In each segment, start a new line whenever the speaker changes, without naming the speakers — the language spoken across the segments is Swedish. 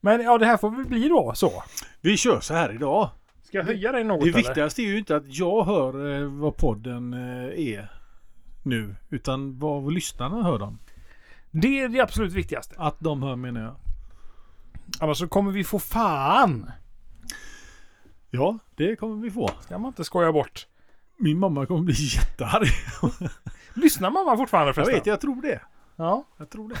Men ja, det här får väl bli då så.
Vi kör så här idag.
Ska jag höja dig något
Det
eller?
viktigaste är ju inte att jag hör eh, vad podden eh, är nu. Utan vad lyssnarna hör dem.
Det är det absolut viktigaste.
Att de hör menar jag.
Annars så kommer vi få fan.
Ja, det kommer vi få.
Ska man inte skoja bort.
Min mamma kommer bli jättearg.
Lyssnar mamma fortfarande
Jag
förresten?
vet, jag tror det.
Ja.
Jag tror det.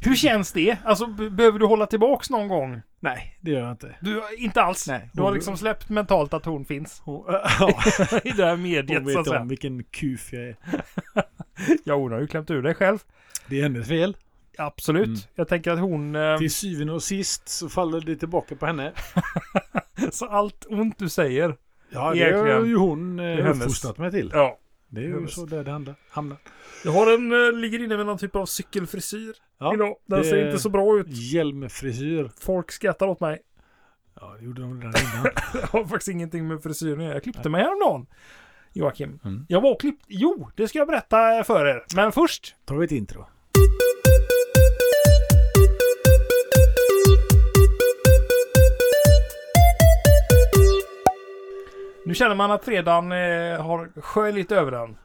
Hur känns det? Alltså, b- behöver du hålla tillbaks någon gång?
Nej, det gör jag inte.
Du, har- inte alls.
Nej.
Du har liksom släppt mentalt att hon finns
Hon, ja,
i det här
hon
mediet så att
vet om
säga.
vilken kuf jag är.
Ja, hon har ju klämt ur dig själv.
Det är hennes fel.
Absolut.
Mm.
Jag tänker att hon... Eh,
Till syvende och sist så faller det tillbaka på henne.
så allt ont du säger.
Ja,
det har
ju hon
eh, uppfostrat
uppfostrat mig till.
Ja.
Det är ju så där det handlar- hamnar.
Jag har en, eh, ligger inne med någon typ av cykelfrisyr
Ja,
idag. Den
det-
ser inte så bra ut.
Hjälmfrisyr.
Folk skrattar åt mig.
Ja, det gjorde de redan innan.
Jag har faktiskt ingenting med frisyren att göra. Jag klippte mig häromdagen. Joakim.
Mm.
Jag var och klippt... Jo, det ska jag berätta för er. Men först.
Tar vi ett intro?
Nu känner man att fredagen eh, har sköljt över den.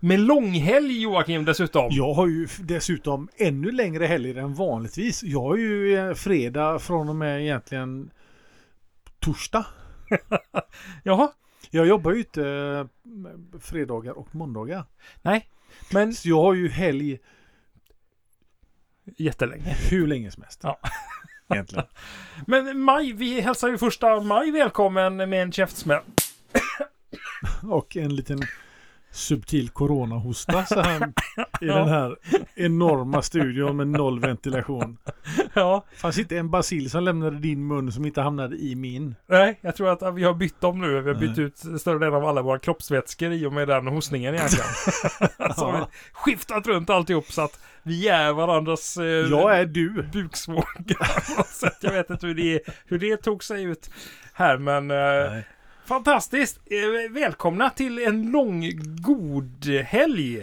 Med långhelg Joakim dessutom.
Jag har ju f- dessutom ännu längre helger än vanligtvis. Jag har ju eh, fredag från och med egentligen torsdag.
Jaha.
Jag jobbar ju inte eh, m- fredagar och måndagar.
Nej. Men
Så jag har ju helg
jättelänge.
hur länge som helst.
Ja.
Egentligen.
Men maj, vi hälsar ju första maj välkommen med en käftsmäll.
Och en liten subtil coronahosta så här i den här enorma studion med noll ventilation.
Ja.
Fanns inte en basil som lämnade din mun som inte hamnade i min.
Nej, jag tror att vi har bytt om nu. Vi har bytt
Nej.
ut större delen av alla våra kroppsvätskor i och med den hostningen egentligen. så har vi skiftat runt alltihop så att vi är varandras eh,
Jag är du.
buksvågor. så att jag vet inte hur det, hur det tog sig ut här men eh, fantastiskt! Eh, välkomna till en lång god helg!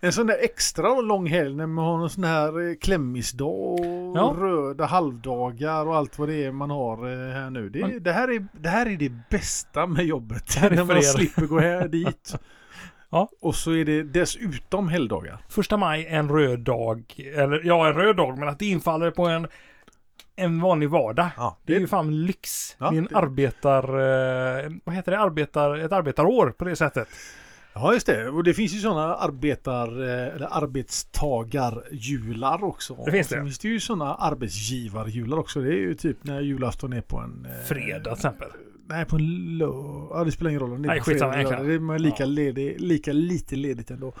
En sån där extra lång helg när man har någon sån här eh, klämmisdag och
Ja.
röda halvdagar och allt vad det är man har eh, här nu. Det, är- det, här, är, det här är det bästa med jobbet.
är
När
för
man
er.
slipper gå här dit.
Ja.
Och så är det dessutom helgdagar.
Första maj en röd dag, eller ja en röd dag men att det infaller på en en vanlig vardag.
Ja,
Det är
det-
ju fan lyx.
Ja,
det är en
det-
arbetar... Eh, vad heter det? Arbetar, ett arbetarår på det sättet.
Ja, just det. Och det finns ju sådana arbetar, eh, eller arbetstagarjular också.
Det finns det.
Sen finns det ju sådana arbetsgivarjular också. Det är ju typ när julafton är på en... eh,
Fredag till exempel.
Nej, på en lördag. Ja, det spelar ingen roll. om det är
Nej,
på
skitsamma,
fredag eller
egentligen.
lördag. Det är man lika,
Ja.
ledig, lika lite ledigt ändå.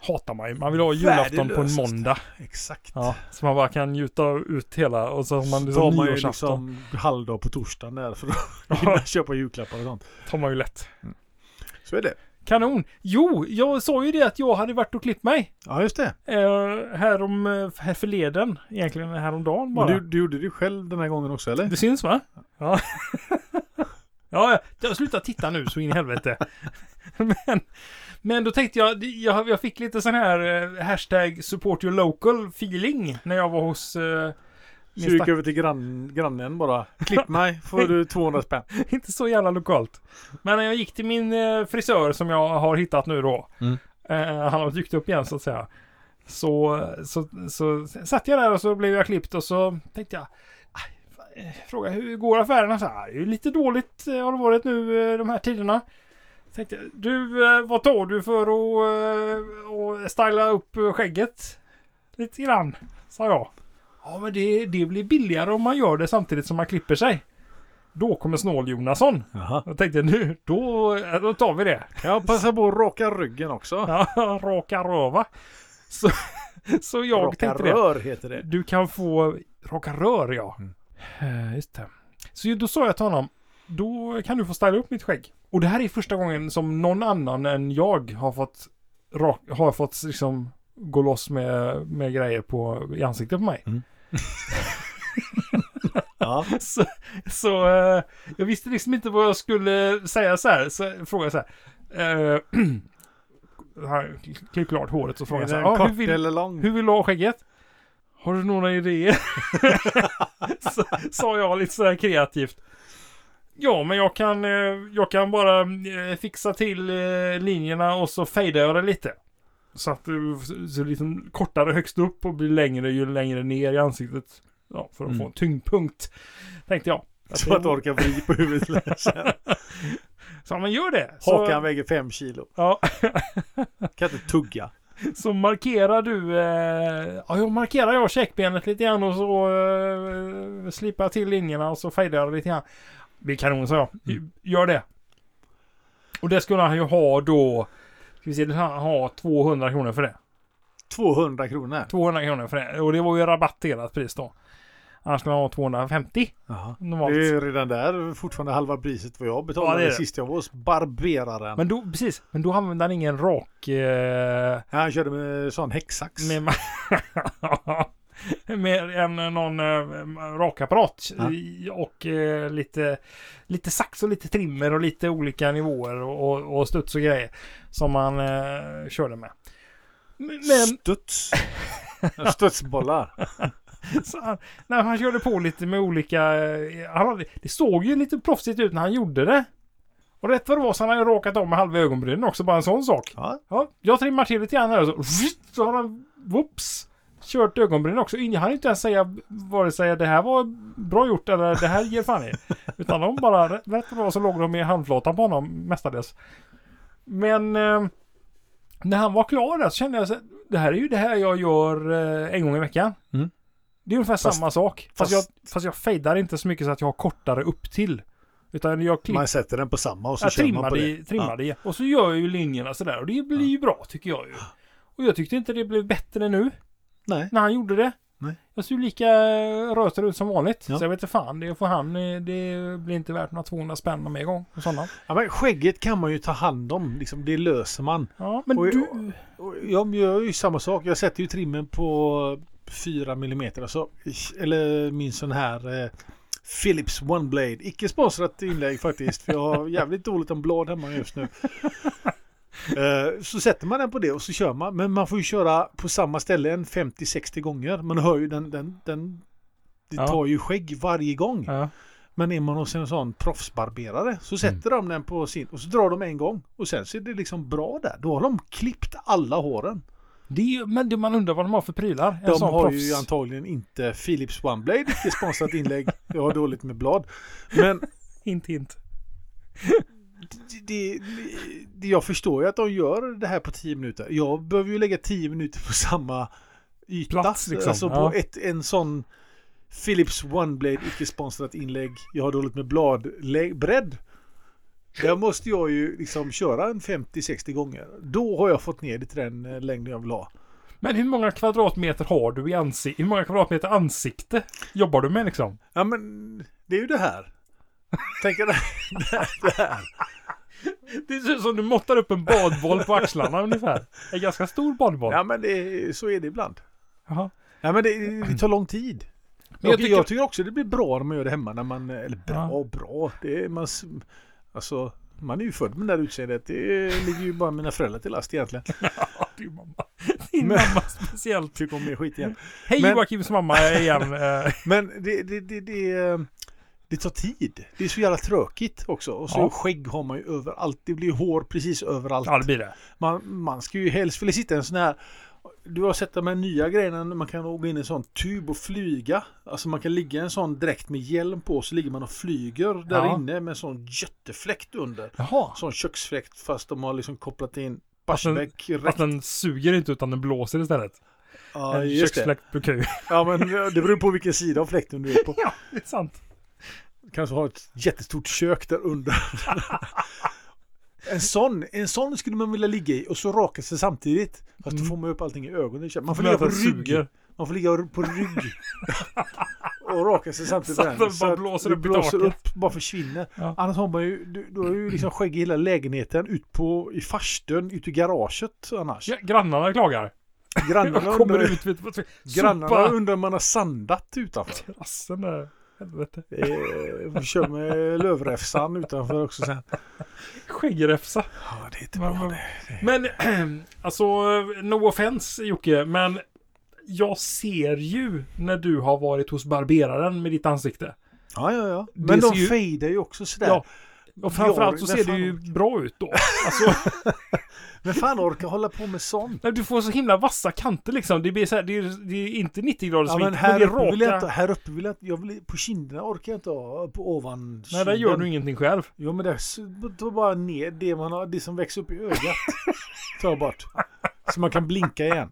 Hatar man ju. Man vill ha julafton på en
Värdelöst.
måndag.
Exakt.
Ja, så man bara kan njuta ut hela och så har man
Då
liksom
tar man ju
nyårsafton.
liksom halvdag på torsdagen där för att hinna köpa julklappar och sånt.
tar man ju lätt.
Så är det.
Kanon! Jo, jag sa ju det att jag hade varit och klippt mig.
Ja, just det.
Eh, härom, eh, här förleden. Egentligen häromdagen bara.
Men du, du gjorde det själv den här gången också, eller?
Det syns va? Ja. ja, ja. jag slutar titta nu så in i helvete. Men, men då tänkte jag, jag, jag fick lite sån här eh, hashtag support your local feeling när jag var hos eh,
Så
min
du gick
stack-
över till grann, grannen bara. Klipp mig, får du 200 spänn.
inte så jävla lokalt. Men när jag gick till min eh, frisör som jag har hittat nu då.
Mm.
Eh, han har dykt upp igen så att säga. Så, så, så satt jag där och så blev jag klippt och så tänkte jag. "Aj, eh, Fråga hur går affärerna? Så här, det är ju lite dåligt eh, har det varit nu eh, de här tiderna. Tänkte jag, du eh, vad tar du för att eh, och styla upp eh, skägget? Lite grann, sa jag. Ja men det, det blir billigare om man gör det samtidigt som man klipper sig. Då kommer Snål-Jonasson.
Jaha.
Jag tänkte nu, då, då tar vi det.
Ja, passa på att raka ryggen också.
Ja, raka röva. Så, så jag
raka
tänkte
rör heter
det.
det.
Du kan få raka rör ja.
Mm.
Eh, Just det. Så ju- då sa jag till honom, då kan du få styla upp mitt skägg. Och det här är första gången som någon annan än jag har fått, rak, har fått liksom gå loss med, med grejer på, i ansiktet på mig.
Ja.
Så, så eh, jag visste liksom inte vad jag skulle säga så här. Så jag frågade så här. Eh, han klippte klart håret och
Är
frågade så
den
här. "Ja,
kort
hur, vill,
eller lång?
hur vill du ha skägget? "Ja, Har du några idéer? Så- Sa jag lite sådär kreativt. Ja, men jag kan, eh, jag kan bara eh, fixa till eh, linjerna och så fejdar jag det lite. Så att du så liksom kortare högst upp och blir längre ju längre ner i ansiktet. Ja, för att
Mm.
få en tyngdpunkt. Tänkte jag.
Så att orka vri på huvudet.
Så men gör det. Så-
Hakan väger fem kilo.
Ja,
Kan inte tugga.
så markerar du... Eh, ja, jag markerar jag käkbenet lite grann och så eh, slipar jag till linjerna och så fejdar jag lite grann. Det är kanon, sa jag.
Mm.
Gör det. Och det skulle han ju ha då... Ska vi se, han har 200 kronor för det.
200 kronor.
200 kronor för det. Och det var ju rabatterat pris då. Annars skulle han ha 250
Jaha.
normalt.
Det är ju redan där fortfarande halva priset vad jag betalade
Ja, det är det.
sist jag var hos barberaren.
Men då, precis. Men då använde han ingen rak... Eh,
Han körde med sån häcksax.
Med, ma- med en, någon eh, rakapparat
Ja.
i- och eh, lite, lite sax och lite trimmer och lite olika nivåer och, och, och studs och grejer som man eh, körde med. Men
Studs. Studsbollar.
så han, när han körde på lite med olika... eh, Han hade, det såg ju lite proffsigt ut när han gjorde det. Och rätt vad det var så hade han ju rakat om med halva ögonbrynen också, bara en sån sak.
Ja.
Ja, jag trimmar till lite grann här och så, så har han, whoops, kört ögonbrynen också. Jag hann inte ens säga vare sig det här var bra gjort eller det här ger fan i. Utan de bara, rätt vad det var så låg de i handflatan på honom mestadels. Men eh, när han var klar där så kände jag så här, det här är ju det här jag gör eh, en gång i veckan.
Mm.
Det är ungefär
Fast-
samma sak. Fast,
fast-
jag, fast jag fejdar inte så mycket så att jag har kortare upp till. Utan jag klipper
Man sätter den på samma och så
jag
kör man på
trimmade,
det.
i, trimmade i. Och så gör jag ju linjerna sådär. Och det blir ju bra tycker jag ju. Och jag tyckte inte det blev bättre nu
Nej.
när han gjorde det.
Nej.
Jag såg lika röter ut som vanligt.
Ja.
Så jag vet inte fan, det får han. eh, Det blir inte värt några 200 spänn någon mer gång. Och sådana.
Ja, men skägget kan man ju ta hand om. Liksom, det löser man.
Ja, men
Oj,
du...
Och Jag gör ju samma sak. Jag sätter ju trimmen på 4 mm. Alltså, eller min sån här eh, Philips One Blade. Icke sponsrat inlägg faktiskt. För jag har jävligt dåligt om blad hemma just nu. Eh, Så sätter man den på det och så kör man. Men man får ju köra på samma ställe en 50-60 gånger. Man hör ju den... den, den det
Ja.
tar ju skägg varje gång.
Ja.
Men är man hos en sån proffsbarberare så sätter
Mm.
de den på sin och så drar de en gång och sen ser det liksom bra där. Då har de klippt alla håren.
Det är, ju- men det, man undrar vad de har för prylar. En
De
sån
har
proffs.
ju antagligen inte Philips OneBlade, det är sponsrat inlägg. Jag har dåligt med blad. Men
Hint, hint.
det, det, det, jag förstår ju att de gör det här på 10 minuter. Jag behöver ju lägga 10 minuter på samma yta.
Plats, liksom.
Alltså på
Ja.
ett, en sån Philips OneBlade, icke sponsrat inlägg. Jag har dåligt med blad, lä- bredd. Där måste jag ju liksom köra en 50-60 gånger. Då har jag fått ner det till den eh, längden jag vill ha.
Men hur många kvadratmeter har du i ansikte? Hur många kvadratmeter ansikte jobbar du med liksom?
Ja men det är ju det här. Tänk er det här. Det här.
Det ser ut som du måttar upp en badboll på axlarna ungefär. En ganska stor badboll.
Ja men det, så är det ibland.
Jaha.
Ja men det, det tar lång tid.
Men
Men
jag
jag,
tycker-
tycker... jag tycker också det blir bra när man gör det hemma. När man, eller bra,
Ja.
bra. Det är, man, s- alltså, man är ju född med det här utseendet. Det ligger ju bara mina föräldrar till last egentligen.
Din mamma. Din
Men-
mamma speciellt.
Tycker om mer skit igen.
Hej
Men-
Joakims mamma igen. Eh,
Men det, det, det, det, det tar tid. Det är så jävla tråkigt också. Och så
Ja.
skägg har man ju överallt. Det blir hår precis överallt.
ja, det blir det.
Man, man ska ju helst vilja sitta i en sån här du har sett de här nya grejerna när man kan åka in i en sån tub och flyga. Alltså man kan ligga i en sån dräkt med hjälm på så ligger man och flyger där
Ja.
inne med en sån jättefläkt under.
Jaha.
Sån köksfläkt fast de har liksom kopplat in
Alltså,
Barsebäck
Att
rätt.
den suger inte utan den blåser istället.
Ja,
en
just det.
köksfläkt på kul.
Ja, men det beror på vilken sida av fläkten du är på.
ja, det är sant.
Kanske har ett jättestort kök där under. En sån, en sån skulle man vilja ligga i och så raka sig samtidigt. Fast då
Mm.
får man upp allting i ögonen. Man får
Men
ligga
att
på
den
rygg.
suger.
Man får ligga på rygg. och raka sig samtidigt.
Så att
med
den bara blåser
det
upp i
blåser
taket.
upp, bara försvinner.
Ja.
Annars har man ju, du- då är ju liksom skägg i hela lägenheten, ut på, i farstun, ut i garaget annars.
Ja, grannarna klagar.
Grannarna,
Jag kommer
undrar,
ut vet du.
grannarna
Sopa
undrar om man har sandat utanför.
terrassen där. Helvete.
Eh, vi kör med lövräfsan utanför också sen.
Skäggrefsa.
Ja, det är inte
Men,
bra.
men alltså, no offense Jocke, men jag ser ju när du har varit hos barberaren med ditt ansikte.
Ja, ja, ja.
Det
Men de
ser ju-
fejdar ju också sådär.
Ja. Och framförallt så
men
ser
fan
det ju bra ut då. Alltså,
Men fan orkar hålla på med sånt?
när du får så himla vassa kanter liksom. Det blir så här, det är, det är inte 90 graders
Ja,
vikt,
men här
det är
uppe vill jag
raka.
inte, här uppe vill jag inte, jag vill, på kinderna orkar jag inte ha, på ovan
Nej, där gör du ingenting själv.
Jo men det är tar bara ner det man har, det som växer upp i ögat. Tar jag bort. Så man kan blinka igen.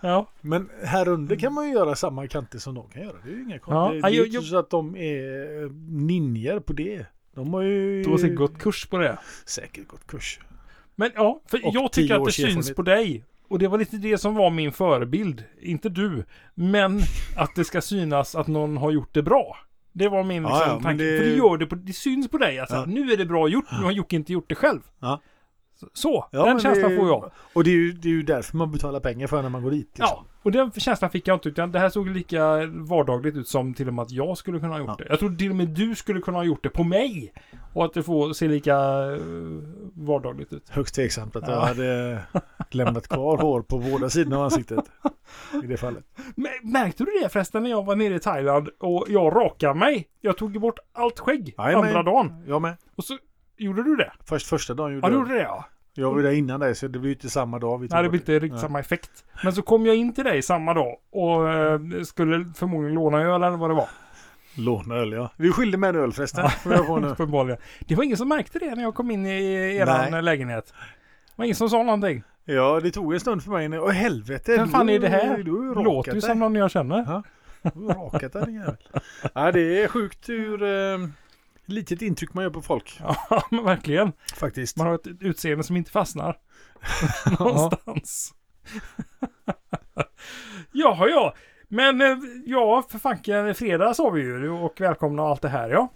Ja.
Men här under kan man ju göra samma kanter som de kan göra. Det är ju inga
Ja,
konstigt. Det är
jag-
ju inte
jag-
så att de är ninjor på det. De har ju
Du har säkert gått kurs på det.
säkert gått kurs.
Men ja, för
Och
jag
tio
tycker att det
års
syns
erfarenhet.
på dig. Och det var lite det som var min förebild. Inte du. Men att det ska synas att någon har gjort det bra. Det var min
Ja,
liksom,
ja, men
tanke.
det-
För det, gör det, på, det syns på dig. Alltså,
Ja.
Nu är det bra gjort. Nu har Jocke inte gjort det själv.
Ja.
Så- Så,
Ja, men
den
det-
känslan får jag.
Och det är, ju, det är ju därför man betalar pengar för när man går dit. liksom.
Ja, och den känslan fick jag inte. Utan det här såg lika vardagligt ut som till och med att jag skulle kunna ha gjort
Ja.
det. Jag tror till och med du skulle kunna ha gjort det på mig. Och att det får se lika eh, vardagligt ut.
Högst tveksamt att
Ja.
jag hade lämnat kvar hår på båda sidorna av ansiktet. I det fallet.
Men, märkte du det förresten när jag var nere i Thailand och jag rakade mig? Jag tog bort allt skägg
Jajamän.
andra dagen.
Jag med.
Och så gjorde du det?
Först, första dagen
Ja,
gjorde
du
jag
gjorde det ja.
det. Jag var ju där innan dig så det blir ju inte samma dag. Vi tog
Nej, det
bort
blev inte riktigt
Nej.
samma effekt. Men så kom jag in till dig samma dag och eh, skulle förmodligen låna öl eller vad det var.
Låna öl ja. Vi skyllde med en öl förresten. Får jag få nu.
Uppenbarligen. Det var ingen som märkte det när jag kom in i eran eh,
Nej.
lägenhet. Det var ingen som sa någonting.
Ja, det tog en stund för mig. när- Åh helvete!
Vem fan
du-
är det här?
Du har ju
Låter ju
rakat
som
dig.
någon jag känner.
Du har rakat dig din jävel. Ja, det är sjukt hur eh, litet intryck man gör på folk.
Ja, men verkligen.
Faktiskt.
Man har ett utseende som inte fastnar. Någonstans. Jaha, ja. Men eh, ja, för fanken, fredag sa vi ju och välkomna och allt det här ja.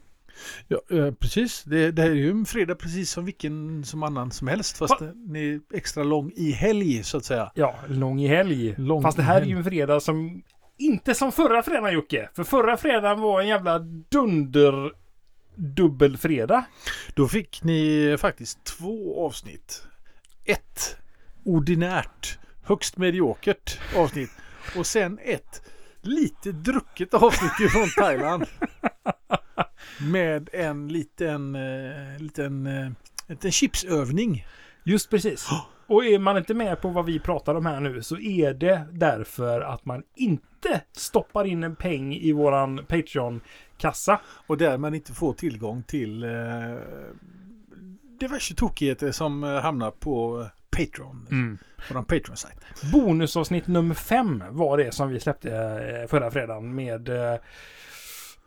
Ja, eh, precis. Det, det här är ju en fredag precis som vilken som annan som helst. Fast
Va?
den är extra lång i helg så att säga.
Ja, lång i helg.
Lång
Fast det här är
helg.
ju en fredag som inte som förra fredagen Jocke. För förra fredagen var en jävla dunder dubbelfredag.
Då fick ni faktiskt två avsnitt. Ett ordinärt, högst mediokert avsnitt. Och sen ett lite drucket avsnitt från Thailand. Med en liten, eh, liten, eh, liten chipsövning.
Just precis. Och är man inte med på vad vi pratar om här nu så är det därför att man inte stoppar in en peng i våran Patreon-kassa.
Och där man inte får tillgång till eh, diverse tokigheter som eh, hamnar på Patreon. Vår Patreon-sajt.
Bonusavsnitt nummer fem var det som vi släppte eh, förra fredagen med eh,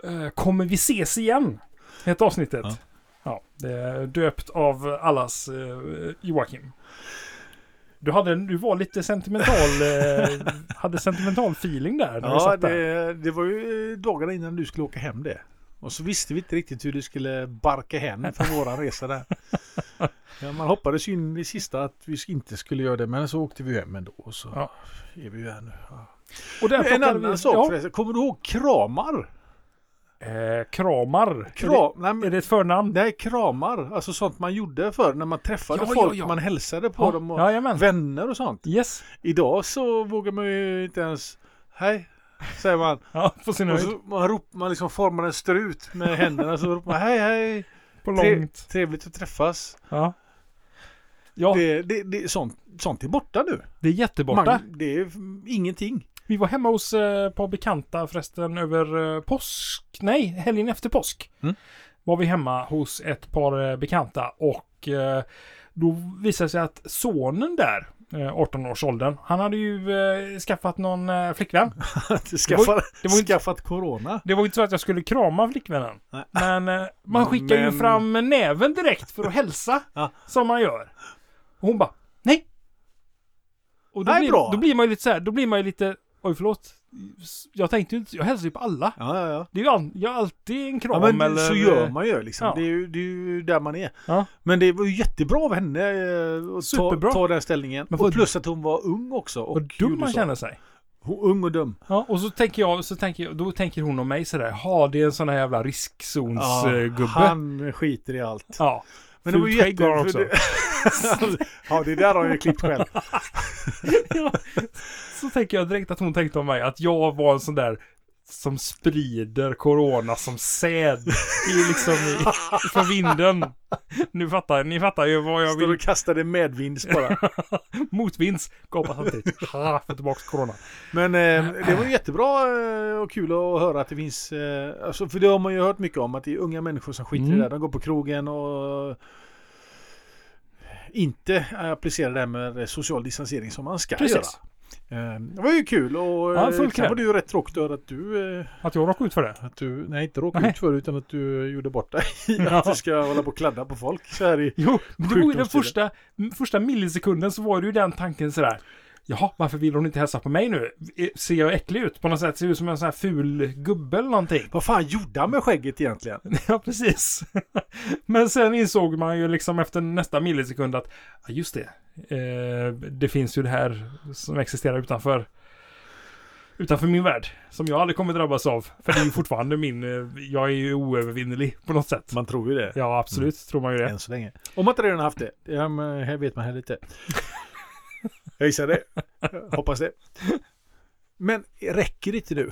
eh, Kommer vi ses igen? Hette avsnittet. Ja.
Ja.
det är döpt av allas eh, Joakim. Du, hade, en- du var lite sentimental, eh, hade sentimental feeling där. När vi
Ja,
satt där.
det, det var ju eh, dagarna innan du skulle åka hem det. Och så visste vi inte riktigt hur du skulle barka hem för våran resa där. Ja, man hoppades ju in i sista att vi inte skulle göra det, men så åkte vi hem ändå. Och så
Ja.
är vi ju här nu. Ja.
Och där
En
plockade
annan
vi-
sak
ja.
förresten. Kommer du ihåg kramar?
Eh, kramar. Är,
Kram, nej,
det, är
men,
det ett förnamn?
nej, kramar. Alltså sånt man gjorde förr när man träffade
Ja, ja,
folk.
ja.
Man hälsade på dem och
ja, jajamän.
vänner och sånt.
Yes.
Idag så vågar man ju inte ens... Hej, säger man.
Ja, på sin
Och
höjd.
så man, rop, man liksom formar en strut med händerna så ropar man hej hej!
På
Tre-
långt.
Trevligt att träffas.
Ja. Ja, det,
Det, det, det, sånt, sånt är borta nu.
är jätteborta.
Man, det är mm, ingenting.
Vi var hemma hos eh, ett par bekanta förresten över eh, påsk. Nej, helgen efter påsk.
Mm.
Var vi hemma hos ett par eh, bekanta och eh, då visade det sig att sonen där, eh, 18-årsåldern, han hade ju eh, skaffat någon eh, flickvän.
Skaffa,
det var ju inte-
skaffat corona.
Det var ju inte så att jag skulle krama flickvännen.
Nej.
Men eh, man skickar ju
Men-
fram näven direkt för att hälsa.
Ja.
Som man gör. Och hon bara, nej. Och då,
Nej,
blir,
bra.
då blir man ju lite så här, då blir man ju lite, oj förlåt. Jag tänkte ju inte, jag hälsar ju på alla.
Ja, ja, ja.
Det är ju all, jag har alltid en
ja
kram
men
eller...
så gör man ju liksom.
ja.
Det, är ju, det är ju där man är.
Ja.
Men det var ju jättebra av henne eh, att ta,
Superbra.
ta den ställningen.
Men
och
vad-
plus att hon var ung också. Och
Vad dum
gjorde
man
så.
känner sig.
Hon, ung och dum.
Ja, och så tänker jag, så tänker jag, då tänker hon eh, om mig sådär, ha det är en sån här jävla riskzonsgubbe. Ja,
han skiter i allt.
ja.
Men det var ju
Fult skägg
jätte...
har han
för
också.
det- ja, det där har jag klippt själv.
Ja, så tänker jag direkt att hon tänkte om mig att jag var en sån där som sprider corona som säd i liksom i, från vinden. Nu fattar ni fattar ju vad jag
Står
vill.
och kastar det medvinds bara.
Motvinds, gapar samtidigt. Ha, få tillbaka corona.
Men eh, det var ju jättebra eh, och kul att höra att det finns, eh, alltså, för det har man ju hört mycket om, att det är unga människor som skiter i
Mm.
det där. De går på krogen och inte applicerar det här med social distansering som man ska
Precis.
göra. Eh, det var ju kul och
Ja,
ja,
full
sen var
kräm.
det ju rätt tråkigt att höra att du, eh,
Att jag råkade ut för det.
att du, nej inte råkade
Nej.
ut för det utan att du gjorde bort dig. i
Ja.
Att du ska hålla på och kladda på folk så här i...
Jo, men det var ju den
Sjukdomstider.
första, första millisekunden så var det ju den tanken sådär. Jaha, varför vill hon inte hälsa på mig nu? E- Ser jag äcklig ut på något sätt? Ser jag ut som en sån här ful gubbe eller någonting?
Vad fan gjorde han med skägget egentligen?
Ja, precis. Men sen insåg man ju liksom efter nästa millisekund att, ja just det, eh, det finns ju det här som existerar utanför, utanför min värld. Som jag aldrig kommer drabbas av. För det är ju fortfarande min, eh, jag är ju oövervinnelig på något sätt.
Man tror ju det.
Ja, absolut tror man ju det.
Än så länge. Om man inte redan haft det. Ja, men här vet man här lite. Jag gissar det. Hoppas det. Men räcker det inte nu?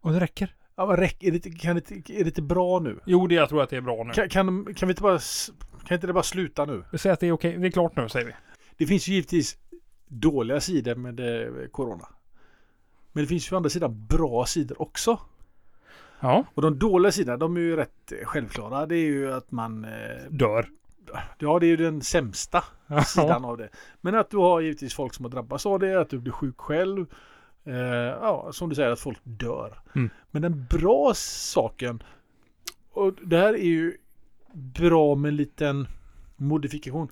Och det räcker.
Ja, men räcker, är, det, inte- kan det, inte- är det inte bra nu?
Jo, det jag tror att det är bra nu.
Kan, kan, kan vi inte bara... s- Kan inte det bara sluta nu?
Vi säger att det är okej, det är klart nu säger vi.
Det finns ju givetvis dåliga sidor med eh, corona. Men det finns ju å andra sidan bra sidor också.
Ja,
Och de dåliga sidorna, de är ju rätt eh, självklara. Det är ju att man... eh,
dör.
Ja, det är ju den sämsta
Ja.
sidan av det. Men att du har givetvis folk som har drabbats av det, att du blir sjuk själv. Eh, ja, som du säger, att folk dör.
Mm.
Men den bra saken, och det här är ju bra med en liten modifikation.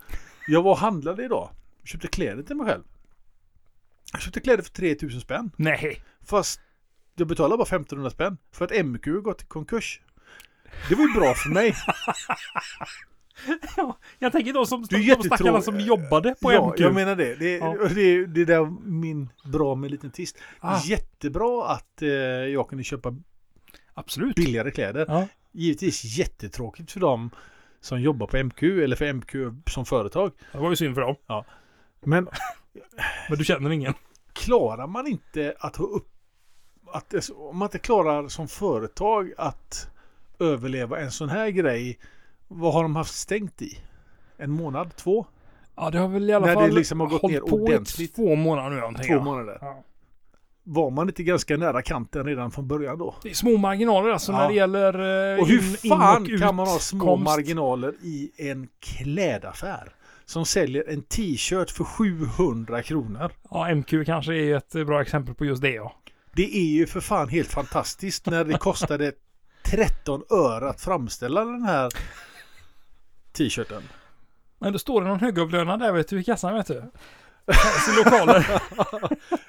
Jag var och handlade idag, köpte kläder till mig själv. Jag köpte kläder för 3000 spänn,
Nej,
fast jag betalade bara 1500 spänn för att MQ gått i konkurs. Det var ju bra för mig.
jag tänker de som,
Du är
de stackarna
jättetråkig.
som jobbade på
ja,
MQ.
jag menar det. Det,
Ja.
och det, det är där min bra med en liten twist.
Ah.
Jättebra att eh, jag kunde köpa
Absolut.
billigare kläder.
Ja.
Givetvis jättetråkigt för dem som jobbar på MQ eller för MQ som företag.
Det var ju synd för dem.
Men
Men du känner ingen.
klarar man inte att ha upp... Att, alltså, om man inte klarar som företag att överleva en sån här grej, vad har de haft stängt i? En månad? Två?
Ja, det har väl i alla
När det
fall
liksom har gått
hållit
ner
på
ordentligt.
i två månader nu någonting.
Två
ja.
månader.
Ja.
Var man inte ganska nära kanten redan från början då?
Det är små marginaler alltså
Ja.
när det gäller eh,
Och hur
in- in-
fan
och
kan man ha små
utkomst?
marginaler i en klädaffär? Som säljer en t-shirt för 700 kronor.
Ja, MQ kanske är ett eh, bra exempel på just det ja.
Det är ju för fan helt fantastiskt när det kostade 13 öre att framställa den här t-shirten.
Men då står det någon högavlönad där vet du i kassan vet du. Hans lokaler.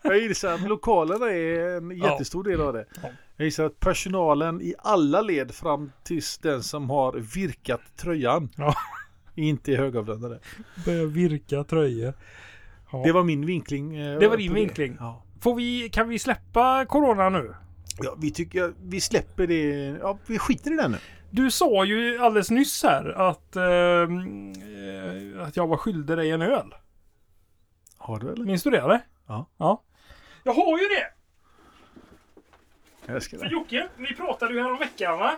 Jag gissar att lokalerna är en jättestor del av det.
Ja.
Jag gissar att personalen i alla led fram tills den som har virkat tröjan
Ja.
inte är högavlönade.
Börjar virka tröjor. Ja.
Det var min vinkling. eh,
Det var din
på
vinkling.
Ja.
Får vi, kan vi släppa corona nu?
Ja, vi tycker vi släpper det. Ja, vi skiter i den nu.
Du sa ju alldeles nyss här att, ehm, eh, att jag var skyldig dig en öl.
Har du eller?
Minns du det eller?
Ja.
ja. Jag har ju det!
Jag älskar
Men
det.
Jocke, vi pratade ju häromveckan va?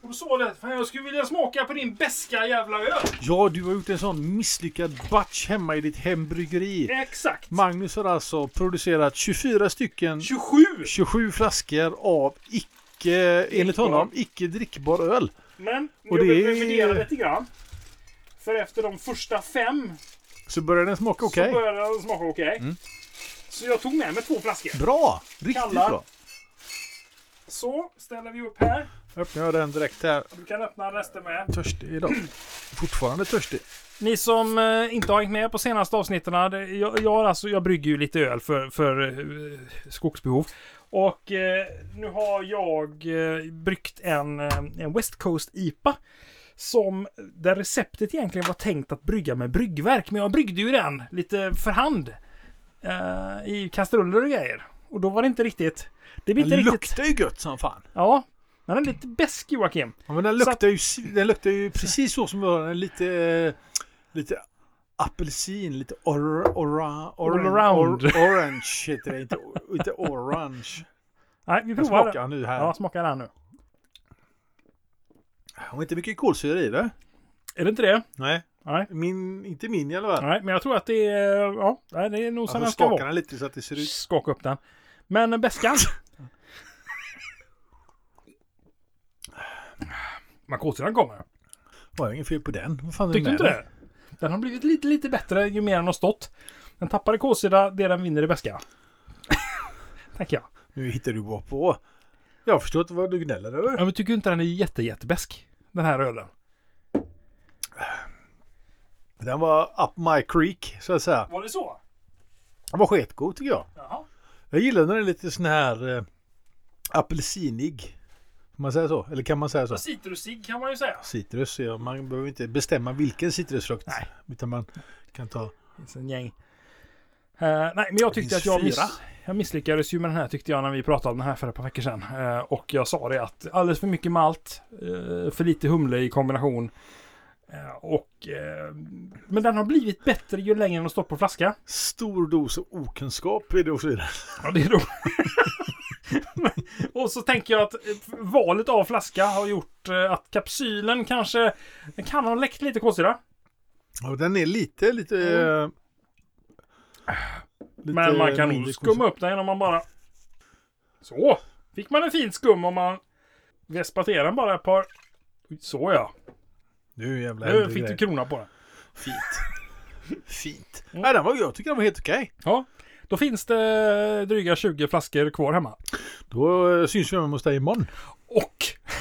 Och då sa du att fan, jag skulle vilja smaka på din beska jävla öl.
Ja, du har gjort en sån misslyckad batch hemma i ditt hembryggeri.
Exakt.
Magnus har alltså producerat 24 stycken
27!
27 flaskor av icke, enligt honom, icke drickbar öl.
Men jag
Och det
vill
är-
revidera lite grann. För efter de första fem
Så börjar den smaka okej. Mm.
så började den smaka okej. Så jag tog med mig två flaskor.
Bra! Riktigt
Kalla.
bra.
Så ställer vi upp här.
Öppnar jag den direkt här.
Du kan öppna resten med.
Törstig idag. Fortfarande törstig.
Ni som eh, inte har hängt med på senaste avsnitten. eh, det- Jag, jag, har alltså, jag brygger ju lite öl för, för eh, skogsbehov. Och eh, nu har jag eh, bryggt en, eh, en West Coast IPA. Som, där receptet egentligen var tänkt att brygga med bryggverk. Men jag bryggde ju den lite för hand. eh, I kastruller och grejer. Och då var det inte riktigt... Det blir inte
Den
riktigt...
luktar ju gött som fan.
Ja. Den är lite besk Joakim.
Ja, men den
Så
luktar, ju, den luktar ju precis så som vi har den. Lite, eh, lite apelsin, lite or, ora, oran-
around.
or, orange heter det. Inte, inte orange.
Nej, vi
Jag
provar.
smakar nu här.
Ja, smaka den nu.
Och inte mycket kolsyra i det.
Är det inte det?
Nej.
Nej.
Min, inte min i alla fall.
Nej, men jag tror att det är... Ja, nej, det är nog som
Jag
Alltså, den ska
får skaka
vara.
den lite så att det ser ut.
Skaka upp den. Men beskan. Men kolsyran kommer.
Var inget fel på den. Vad fan är
Tyckte
med
inte
den?
det? Den har blivit lite, lite bättre ju mer den har stått. Den tappar i kolsyra, det den vinner i beska. Tänker jag.
Nu hittar du bara på. Jag förstår inte vad du gnäller över.
Ja, men tycker inte den är jätte, jättebäsk? Den här ölen.
Den var up my creek så att säga.
Var det så?
Den var sketgod tycker jag.
Jaha.
Jag gillar när den är lite sån här eh, apelsinig. Får man säga så? Eller kan man säga så?
Citrusig kan man ju säga.
Citrus, ja, man behöver inte bestämma vilken citrusfrukt.
Nej.
Utan man kan ta...
finns en gäng. Eh, nej, men jag tyckte
finns
att jag, miss,
fyra.
jag misslyckades ju med den här tyckte jag när vi pratade om den här för ett par veckor sedan. Eh, och jag sa det att alldeles för mycket malt, eh, för lite humle i kombination. Eh, och, eh, men den har blivit bättre ju längre den har stått på flaska.
Stor dos okunskap i det och så vidare.
Ja, det är då. och så tänker jag att eh, valet av flaska har gjort eh, att kapsylen kanske den kan ha läckt lite kolsyra.
Ja, den är lite, lite... eh, lite
Mm. Men man kan
mindre
nog skumma
koncentrat.
upp den om man bara... Så! Fick man en fin skum om man vespaterar den bara ett par... Så ja,
Nu jävlar.
nu
händer
fick
grejer.
du krona på den.
Fint. Fint.
Mm.
Nej, den var, jag tycker den var helt okej.
Ja, då finns det dryga 20 flaskor kvar hemma.
Då eh, syns vi hemma hos dig imorgon.
Och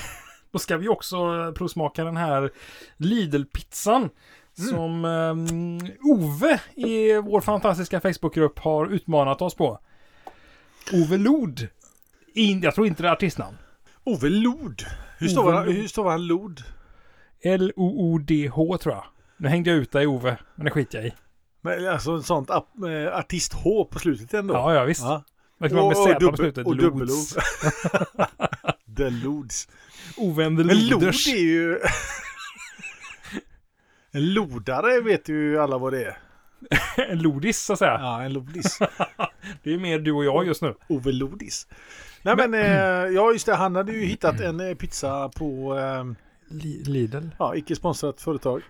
då ska vi också provsmaka den här Lidl-pizzan.
Mm.
Som eh, Ove i vår fantastiska Facebookgrupp har utmanat oss på. Ove Lod. In, jag tror inte det är artistnamn.
Ove Lod. Hur stavar
Ove
han,
Lod.
hur stavar han Lod?
L-O-O-D-H tror jag. Nu hängde jag ut dig Ove, men det skiter jag i.
Men alltså ett sånt ap- eh, artist-H på slutet ändå.
Ja, ja visst.
Ja.
Det kan vara med
Och- och
Z på
dubbel-
slutet.
och dubbel-O.
Lods.
The Lods.
Ove and the
Men lod
Loders.
är ju... en lodare vet ju alla vad det är.
En Lodis så att säga.
Ja, en lodis.
Det är mer du och jag just nu.
Ove Lodis. Nej men, eh, ja just det, han hade ju hittat en eh, pizza på, eh,
Lidl.
ja, icke sponsrat företag.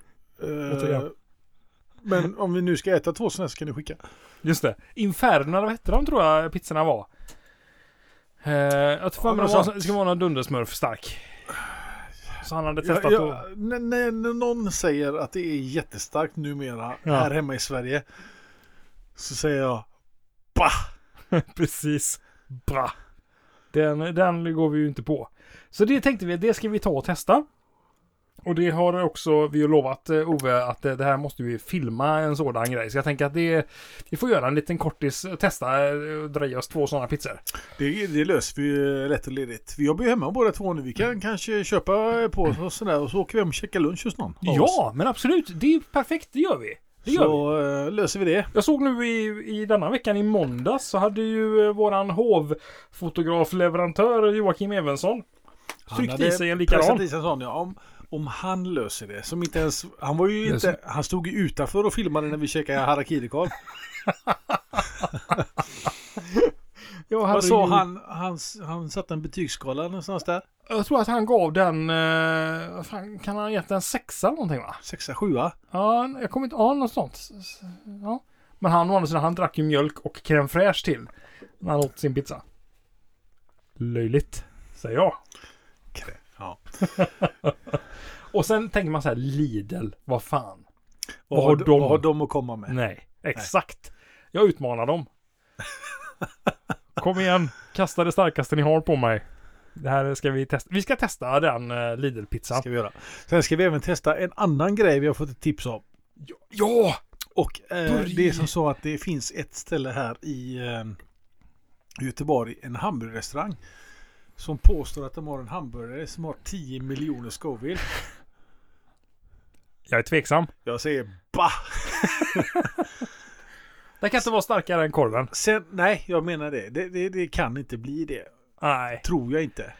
Eh,
Återigen.
men om vi nu ska äta två sådana här så kan du skicka.
Just det. Inferno, vad hette de tror jag pizzorna var? Eh, jag tror
Ja,
fan
men
det var-
sant.
det ska vara någon dundersmurf stark. Så han hade testat
Jag,
att...
jag, när, när när någon säger att det är jättestarkt numera
Ja.
här hemma i Sverige så säger jag bah!
Precis. Bra. Den, den går vi ju inte på. Så det tänkte vi, det ska vi ta och testa. Och det har också vi har lovat eh, Ove att eh, det här måste vi filma en sådan grej. Så jag tänker att det, vi får göra en liten kortis, eh, testa, eh, och dra i oss två sådana pizzor.
Det, det löser vi eh, lätt och ledigt. Vi jobbar ju hemma båda två nu. Vi
Mm.
kan kanske köpa på oss och sådär och så åker vi hem och käkar lunch hos någon. av oss.
Ja, men absolut. Det är perfekt, det gör vi. Det gör vi.
Så eh, löser vi det.
Jag såg nu i, i denna veckan i måndags så hade ju eh, våran hovfotografleverantör Joakim Evensson tryckt i sig en likadan.
Precis en sån, ja. Om, om han löser det. Som inte ens, han var ju
Löser-
inte, han stod ju utanför och filmade när vi käkade harakirikorv.
Jag, hade
Vad sa
ju-
han? Han, han satte en betygsskala någonstans där.
jag tror att han gav den, eh, vad fan, kan han ha gett den sexa eller någonting va?
Sexa, sjua.
Ja, jag kommer inte, ja något sånt. S- s- Ja. Men han å andra sidan, han drack ju mjölk och crème fraîche till när han åt sin pizza. Löjligt, säger jag.
Ja.
Och sen tänker man så här, Lidl, vad fan. Vad har de?
vad har de att komma med?
Nej, exakt. Jag utmanar dem. Kom igen, kasta det starkaste ni har på mig. Det här ska vi testa. Vi ska testa den uh, Lidl-pizzan.
Ska vi göra. Sen ska vi även testa en annan grej vi har fått ett tips om.
Ja!
Och eh,
Börje.
det är som så att det finns ett ställe här i eh, Göteborg, en hamburgerrestaurang. Som påstår att de har en hamburgare som har 10 miljoner Scoville.
Jag är tveksam.
Jag säger bah!
Det kan inte vara starkare än korven.
Sen, nej, jag menar det. Det, det. det kan inte bli det.
Nej.
Tror jag inte.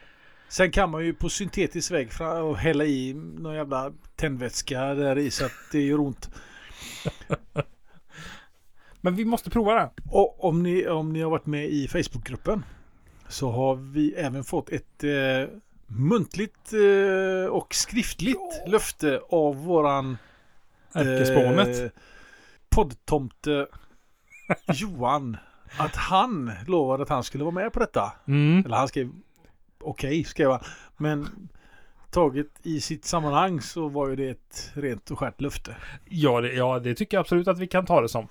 Sen kan man ju på syntetisk väg fra- och hälla i någon jävla tändvätska där i så att det gör ont.
Men vi måste prova den.
Och om ni, om ni har varit med i Facebookgruppen så har vi även fått ett eh, muntligt eh, och skriftligt löfte av våran
Ärkespånet.
Eh, poddtomte Johan. Att han lovade att han skulle vara med på detta.
Mm.
Eller han skrev okej, skrev han. Men taget i sitt sammanhang så var ju det ett rent och skärt löfte.
Ja, det, ja, det tycker jag absolut att vi kan ta det som.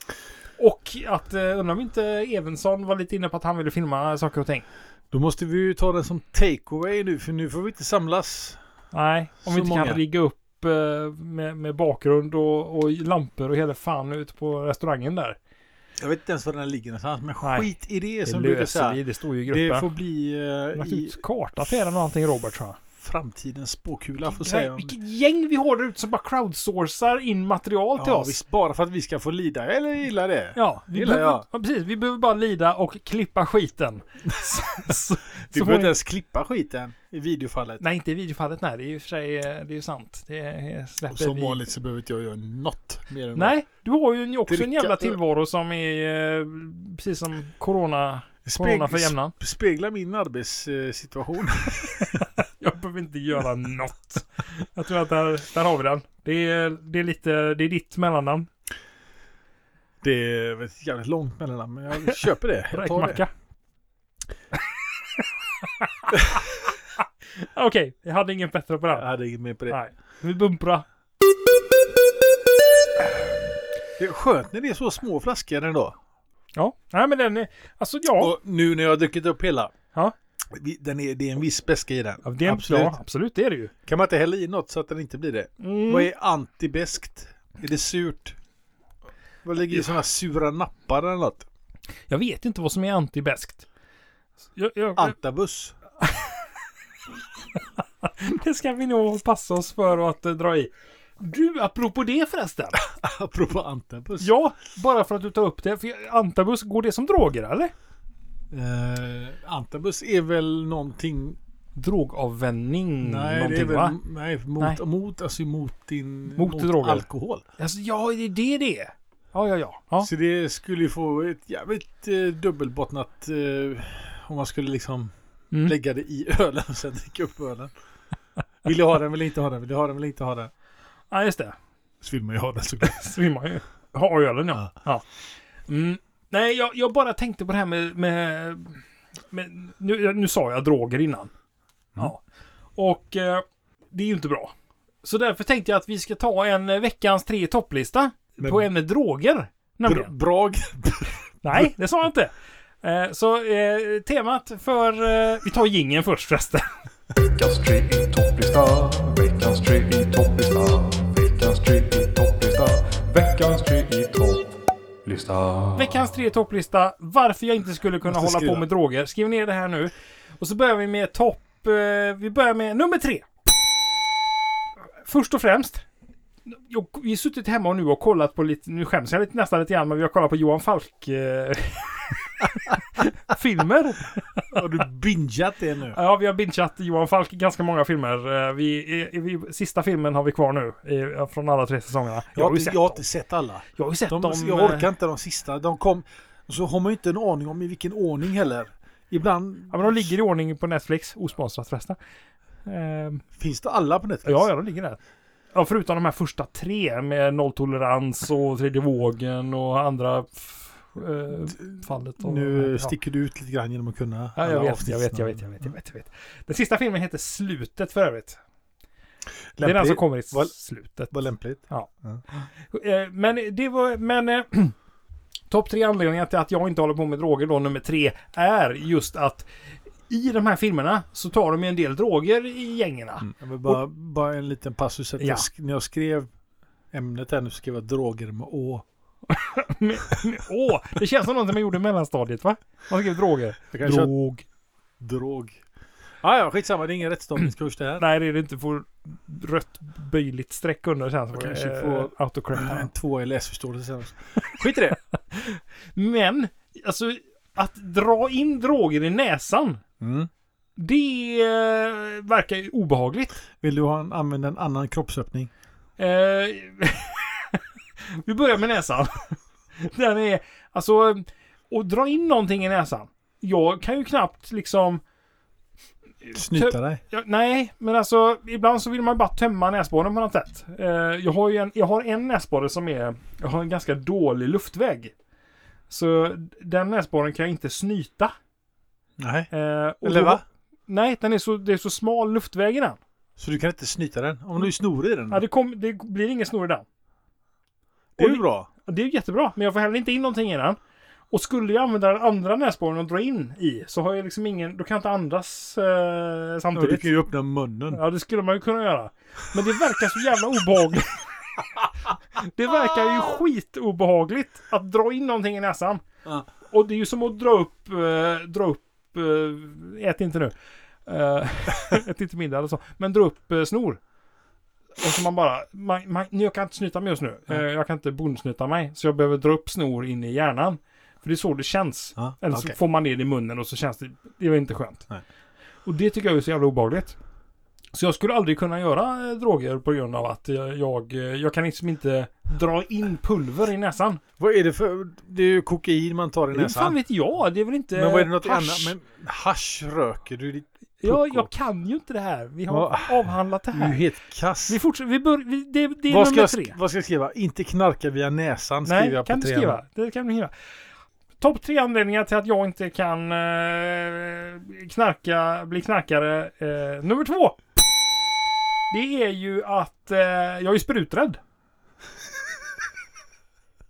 Och att, eh, undrar om inte Evensson var lite inne på att han ville filma saker och ting.
Då måste vi ju ta den som takeaway nu för nu får vi inte samlas.
Nej, om
Så
vi inte
många.
kan rigga upp eh, med, med bakgrund och, och lampor och hela fan ute på restaurangen där.
Jag vet inte ens var den här ligger någonstans men
Nej.
skit i det,
Det
som brukar
löser
säga.
vi, det står ju i
Det
gruppen.
får bli
Det
eh,
får...
i
ut kartaffär eller någonting Robert tror jag.
framtidens spåkula får
Vilket,
säga. om-
vilket gäng vi har där ute som bara crowdsourcar in material till
Ja,
oss.
visst, bara för att vi ska få lida. Eller gilla det.
Ja, vi
Gillar
behöver,
jag.
ja, precis. Vi behöver bara lida och klippa skiten. så, så,
Vi
så
behöver
får
inte
ni,
ens klippa skiten i videofallet.
nej, inte i videofallet. Nej, det är ju för sig eh, det är ju sant. Det eh, släpper
Och som
vi.
vanligt så behöver inte jag göra något mer än
Nej, du har ju en- också en
Dricka.
jävla tillvaro som är eh, precis som corona,
det.
corona för
Speg,
jämnan.
spegla min arbetssituation.
Jag behöver inte göra något. Jag tror att där, där har vi den. Det är, det är lite, det är ditt mellannamn.
Det är ett jävligt långt mellanland, men jag köper det. Jag tar det.
Räkmacka. Okej, jag hade ingen bättre på
Jag
det.
hade inget mer på det.
Nej, vi bumprar.
Det är skönt när det är så små flaskor ändå.
Ja, nej men den är, alltså ja.
Och nu när jag har druckit upp hela.
Ja.
Vi- Den är, det är en viss beska i den.
ja det är absolut.
Absolut.
Ja, absolut det är det ju.
Kan man inte hälla i något så att den inte blir det?
Mm.
Vad är antibeskt? Är det surt? Vad ligger i sådana sura nappar eller något?
Jag vet inte vad som är antibeskt. Jag, jag,
Antabus?
det ska vi nog passa oss för att eh, dra i. Du, apropå det förresten.
Apropå antabus.
Ja, bara för att du tar upp det. För jag- antabus, går det som droger eller?
Eh, antabus är väl någonting...
Drogavvänjning,
Nej, det
Mm,
är
någonting
väl...
va?
Nej, mot,
Nej.
mot, alltså mot din...
Mot droger.
alkohol.
Alltså, ja, det är det det är. Ja, ja, ja. ja.
Så det skulle ju få ett jävligt eh, dubbelbottnat... Eh, om man skulle liksom
Mm.
lägga det i ölen och sen dricka upp ölen. Vill jag ha den, vill jag inte ha den, vill jag ha den, vill jag inte ha den.
ja, just det.
Så vill man ju ha den såklart.
Svimmar ju. Har ölen ja. ja. Mm. Nej, jag, jag bara tänkte på det här med... med, med nu, nu sa jag droger innan. Ja. Och eh, det är ju inte bra. Så därför tänkte jag att vi ska ta en eh, veckans tre i topplista
Men-
på ämnet droger.
Bra,
Nämligen.
bra
Nej, det sa jag inte. Eh, så eh, temat för... Eh, vi tar gingen först förresten.
Veckans tre i topplista, veckans tre i topplista, veckans tre i topplista, veckans tre i topplista.
Veckans tre topplista. Varför jag inte skulle kunna
Måste
hålla
skriva.
på med droger. Skriv ner det här nu. Och så börjar vi med topp... Eh, vi börjar med nummer tre. Först och främst. Jag, vi har suttit hemma och nu och kollat på lite... Nu skäms jag lite, nästan lite grann, men vi har kollat på Johan Falk... Eh, filmer.
Har du bingeat det nu?
Ja, vi har bingeat Johan Falk i ganska många filmer. Eh, Vi, eh, vi, sista filmen har vi kvar nu eh, från alla tre säsongerna. Jag
Jag
har
har,
ju
inte,
sett
jag har
dem.
inte sett alla.
Jag har ju sett
De,
dem.
jag orkar
eh,
inte de sista. De kom... Och så har man ju inte en aning om i vilken ordning heller. Ibland
Ja, men de ligger i ordning på Netflix. Osponsrat förresten. Ehm,
finns det alla på Netflix.
ja, ja, de ligger där. Ja, förutom de här första tre med nolltolerans och tredje vågen och andra f- eh, fallet. Och,
Nu
ja.
sticker du ut lite grann genom att kunna
Ja, jag
alla
vet, jag vet, jag vet, jag vet, jag vet, jag vet. Den sista filmen heter Slutet för övrigt. Det är den som
Lämpligt.
kommer i s-
Vad-
slutet.
Vad lämpligt.
Eh, Men det var, men eh, topp tre anledningar till att jag inte håller på med droger då, nummer tre, är just att i de här filmerna så tar de ju en del droger i gängerna.
Jag vill bara, bara en liten passus. Att
Ja.
jag sk- när jag skrev ämnet här nu så skrev jag droger med å.
Men- men- Åh, det känns som något man gjorde i mellanstadiet va? Man skrev droger.
Jag kanske har
Drog.
drog. Ja, ja, skitsamma. Det är ingen rättstavningskurs det här.
Nej, det är det inte. Får rött böjligt streck under sen. Så
kanske
eh,
får-
autocorrect.
Nej, En två i läsförståelse sen. Skit i det. Mm.
Men, alltså att dra in droger i näsan. Det eh, verkar ju obehagligt.
Vill du ha en, använda en annan kroppsöppning?
Eh, vi börjar med näsan. Den är, alltså, och dra in någonting i näsan. Jag kan ju knappt liksom...
Snyta dig?
Ja, nej, men alltså ibland så vill man bara tömma näsborren på något sätt. Eh, jag, har ju en, jag har en näsborre som är, jag har en ganska dålig luftväg. Så den näsborren kan jag inte snyta.
Nej.
Eh, och
Eller
då-
va? Mm.
Nej, den är så, det är så smal luftväg i den.
Så du kan inte snyta den? Om du snor i den?
Ja, det, kom, det blir ingen snor i den.
det är ju bra.
Och Det är ju jättebra, men jag får heller inte in någonting i den. Och skulle jag använda den andra näsborren och dra in i så har jag liksom ingen, då kan jag inte andas eh,
Ja, du
samtidigt.
kan ju öppna munnen.
Ja, det skulle man ju kunna göra. Men det verkar så jävla obehagligt. Det verkar ju skitobehagligt att dra in någonting i näsan.
Ja.
Och det är ju som att dra upp, eh, dra upp, eh, ät inte nu. Eh, ät inte middag eller så. Men dra upp eh, snor. Och så man bara, man, man, nu, jag kan inte snyta mig just nu. Eh, jag kan inte bondsnyta mig. Så jag behöver dra upp snor in i hjärnan. För det är så det känns.
Ja,
Eller så
okej.
får man ner det i munnen och så känns det, det var inte skönt.
Nej.
Och det tycker jag är så jävla obehagligt. Så jag skulle aldrig kunna göra eh, droger på grund av att jag, jag, eh, jag kan liksom inte dra in pulver i näsan.
Vad är det för... Det är ju kokain man tar i
Det fan
näsan.
vet jag, det är väl inte
Men vad är det något
hasch?
annat? Men hasch röker du. Du
ja,
pucko?
jag kan ju inte det här. Vi har
Va?
avhandlat det
är ju
här.
helt kass.
Vi fortsätter, vi bör, vi, det, det är
Vad ska,
nummer
jag,
tre.
sk- vad ska jag skriva? Inte knarka via näsan skriver
Nej,
jag på
kan du
trean.
skriva. Det kan du skriva. Topp tre anledningar till att jag inte kan eh, knarka, bli knarkare. Eh, nummer två. Det är ju att eh, jag är spruträdd.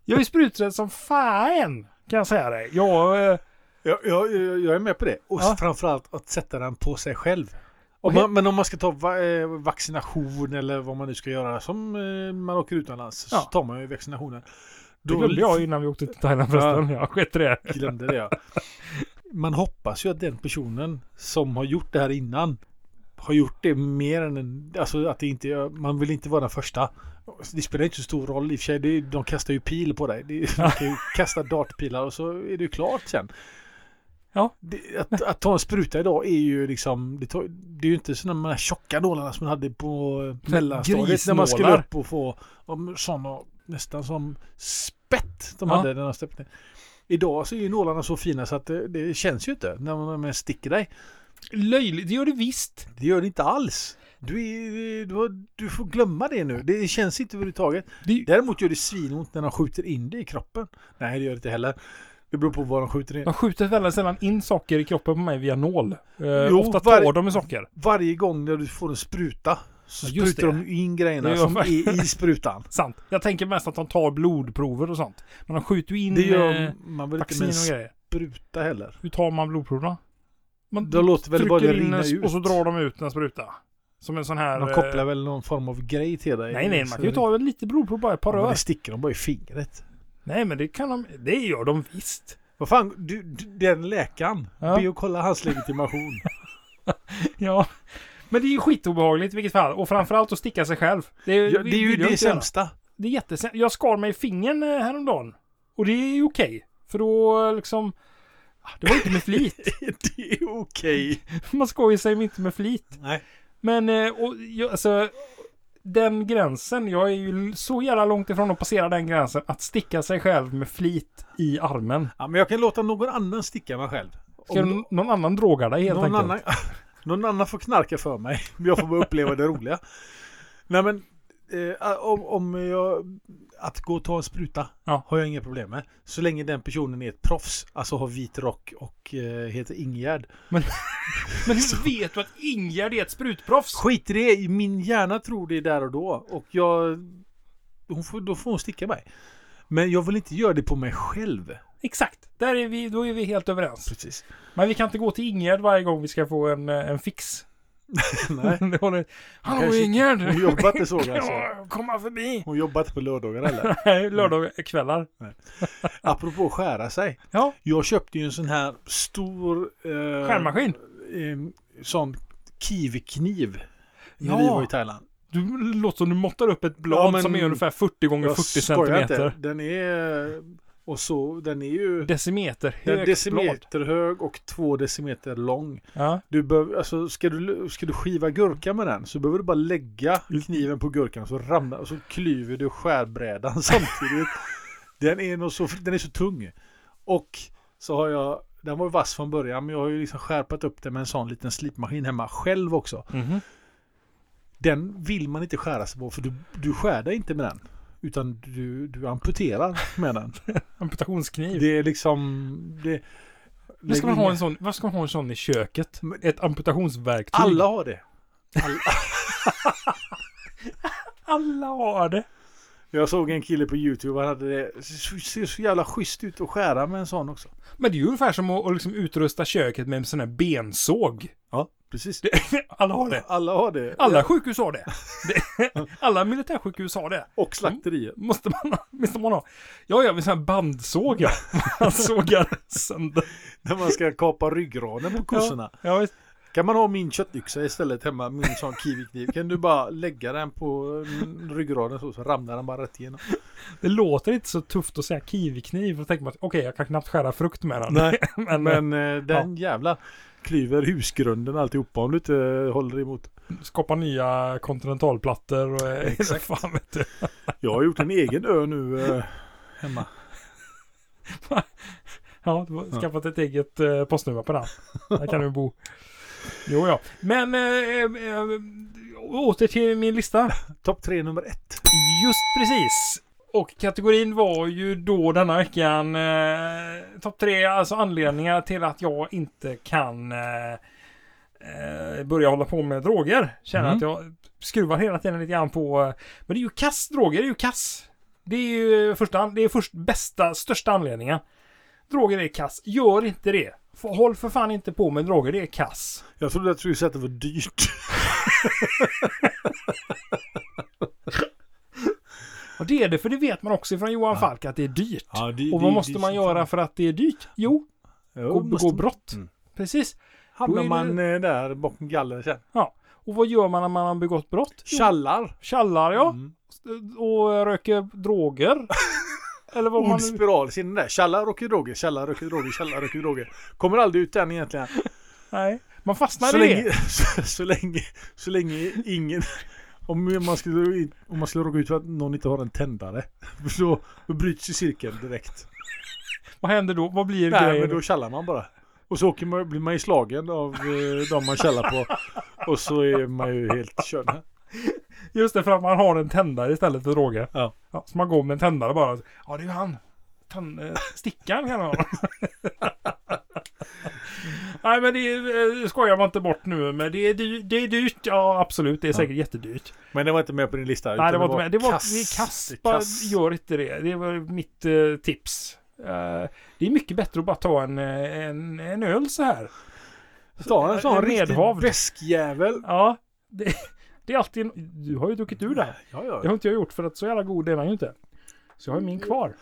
Jag är spruträdd som fan kan jag säga dig. Jag, eh,
Jag, jag, jag jag är med på det. Och
Ja.
framförallt att sätta den på sig själv.
Och
Om
he-
man, men om man ska ta va, eh, vaccination eller vad man nu ska göra som eh, man åker utomlands
Ja.
så tar man ju vaccinationen.
det glömde jag innan vi åkte till Thailand förresten. Jag sket i det.
glömde det ja. Man hoppas ju att den personen som har gjort det här innan har gjort det mer än en, alltså att det inte, är- man vill inte vara den första. Det spelar inte så stor roll i och för sig, det, är- de kastar ju pil på dig. Det, är- de kan ju kasta dartpilar och så är det ju klart sen.
Ja.
Det, att, att ta en spruta idag är ju liksom, det, tar, det är ju inte sådana de här tjocka nålarna som man hade på mellanstadiet när man skulle
Grisnålar.
upp och få om sådana, nästan som spett de
Ja.
hade när de stöpte. Idag så är ju nålarna så fina så att det, det känns ju inte när man men sticker dig.
Löjligt, det gör det visst.
Det gör det inte alls. Du, är, du, har, du får glömma det nu. Det känns inte överhuvudtaget.
Det,
Däremot gör det svinont när de skjuter in det i kroppen. Nej, det gör det inte heller. Det beror på vad de skjuter in.
de skjuter väldigt sällan in socker i kroppen på mig via nål. Eh,
Jo,
ofta
var-
tar de i socker.
Varje gång när du får en spruta så
Ja, just
sprutar
det.
de in grejerna
Det gör
som
man.
är i sprutan.
Sant. Jag tänker mest att de tar blodprover och sånt. Men de skjuter ju in
Det
eh,
gör man väl inte
vaccin
med en
och grejer.
spruta heller.
Hur tar man blodproverna? Man
De låter väl bara det
trycker in
rinna
en,
ut.
och så drar de ut en spruta. Som en sån här...
De kopplar väl någon form av grej till dig.
eh, nej, nej,
Så
man kan ju
det-
ta lite blodprov bara, ett par
Ja, men
rör.
det sticker de bara i fingret.
Nej, men det kan de... Det gör de visst.
Vad fan, du, du, den läkaren.
Ja.
Be och kolla hans legitimation.
Ja. Men det är ju skitobehagligt i vilket fall. Och framförallt att sticka sig själv. Det är,
ja, det är ju
vill jag
det
inte göra.
sämsta.
Det är jättesämst. Jag skar mig i fingern eh, häromdagen. Och det är ju okej. För då eh, liksom... ah, Det var inte med flit.
det är okej.
Man skojar sig inte med flit.
Nej.
Men eh, och, jag, alltså, den gränsen, jag är ju så jävla långt ifrån att passera den gränsen. Att sticka sig själv med flit i armen.
Ja, men jag kan låta någon annan sticka mig själv.
Ska
Om
n- någon annan droga dig helt
någon,
enkelt?
annan, någon annan får knarka för mig. Men jag får bara uppleva det roliga. Nej men, eh, om, om jag... Att gå och ta en spruta
Ja.
har jag inga problem med. Så länge den personen är ett proffs. Alltså har vit rock och eh, heter Ingegärd.
Men hur vet du att Ingegärd är ett sprutproffs?
Skit i det, min hjärna tror det där och då. Och jag... Hon får, då får hon sticka mig. Men jag vill inte göra det på mig själv.
Exakt, där är vi, då är vi helt överens.
Precis.
Men vi kan inte gå till Ingegärd varje gång vi ska få en, eh, en fix.
Nej.
Det håller- Hallå
Kanske-
Ingegärd!
Hon jobbar inte så alltså.
Ja, Komma förbi!
Hon jobbar inte på lördagar eller?
Nej, Lördagskvällar.
Eh. Apropå skära sig.
Ja,
Jag köpte ju en sån här stor... Eh,
skärmaskin.
Eh, sån kiwikniv. När
Ja.
vi var i Thailand.
Du låter som du måttar upp ett blad
Ja, men-
som är ungefär 40 gånger
Jag
40
skojar
centimeter.
Inte. Den är... Och så den är ju
Decimeter
den är
högt blad.
decimeter hög och två decimeter lång.
Ja.
Du behöver, alltså, ska, du, ska du skiva gurka med den så behöver du bara lägga
Mm.
kniven på gurkan och så ramlar och så klyver du skärbrädan samtidigt. den, är nog så, den är så tung. Och så har jag, den var ju vass från början men jag har ju liksom skärpat upp den med en sån liten slipmaskin hemma själv också.
Mhm.
Den vill man inte skära sig på för du, du skär dig inte med den. Utan du, du amputerar med den.
Amputationskniv.
Det är liksom... Det,
Varför ska man ha en sån, vad ska man ha en sån i köket?
Men-
Ett amputationsverktyg?
Alla har det.
Alla har det!
Jag såg en kille på YouTube, han hade det, ser- ser så jävla schysst ut att skära med en sån också.
Men det är ju ungefär som att, att liksom utrusta köket med en sån här bensåg.
Ja, precis.
Alla har det.
Alla har det.
Alla sjukhus har det. det. Alla militärsjukhus har det.
Och slakterier.
Måste man ha. Måste man ha. Ja, jag vill sån här bandsåg ja. Man sågar sönder.
När man ska kapa ryggraden på kossorna.
Ja, visst.
Kan man ha min köttyxa istället hemma, min sån kiwikniv? Kan du bara lägga den på mm, ryggraden så, så ramlar den bara rätt igenom?
det låter inte så tufft att säga kiwikniv. Då tänker man att okej, jag kan knappt skära frukt med den.
Nej,
men, men
Men eh, den jävla klyver husgrunden alltihopa om du inte eh, håller emot.
skapa nya kontinentalplattor och... eh,
Exakt.
Fan vet du.
Jag har gjort en egen ö nu eh, hemma.
Ja, du har skaffat ett eget eh, postnummer på den. Där kan du bo. Jo, ja. Men eh, eh, eh, åter till min lista.
Topp tre nummer ett.
Just precis. Och kategorin var ju då denna veckan eh, topp tre alltså anledningar till att jag inte kan eh, eh, börja hålla på med droger. Känner
Mm.
att jag skruvar hela tiden lite grann på... eh, Men det är ju kass droger, det är ju kass. Det är ju första, an- det är först bästa, största anledningen. Droger är kass. Gör inte det. F- Håll för fan inte på med droger, det är kass.
Jag trodde att du skulle säga att det var dyrt.
Och det är det, för det vet man också från Johan Falk att det är dyrt.
Ja, det-
Och
det-
vad måste
det-
man göra för att det är dyrt? Jo,
Ja,
och
måste-
begå brott.
Mm.
Precis.
Hamnar
Då är
man eh, där bakom galler sen.
Ja. Och vad gör man när man har begått brott? Jo,
Tjallar.
Tjallar ja.
Mm.
Och röker droger. Eller vad man
Ond
nu...
spiral, ser ni där? Tjallar, röker droger, tjallar, röker droger, tjallar, röker droger. Kommer aldrig ut än egentligen.
Nej. Man fastnar
Så
i det.
länge, så, så länge, så länge ingen... Om man skulle, in- om man skulle råka ut för att någon inte har en tändare. Så då bryts ju cirkeln direkt.
Vad händer då? Vad blir
Nej,
grejen?
men då tjallar man bara. Och så åker man, blir man ju slagen av eh, de man tjallar på. Och så är man ju helt körd.
Just det, för att man har en tändare istället för droger.
Ja.
så man går med en tändare bara. Ja, det är ju han. Tänd, eh, stickan kan han ha. Nej, men det är- eh, skojar man inte bort nu. Men det är, dy- det är dyrt. Ja, absolut. Det är säkert jättedyrt.
Men det var inte med på din lista. utan
Nej, det var inte med. Det var kass. Det är
Det
kass.
är
Bara
kass.
Gör inte det. Det var mitt eh, tips. Eh, det är mycket bättre att bara ta en, eh, en, en öl så här.
Ta en sån
En
riktig
medhavd.
väskjävel.
Ja, det, det är alltid... en- Du har ju druckit ur den.
Ja, ja.
Det har inte jag gjort för att så jävla god är man ju inte. Så jag har min kvar.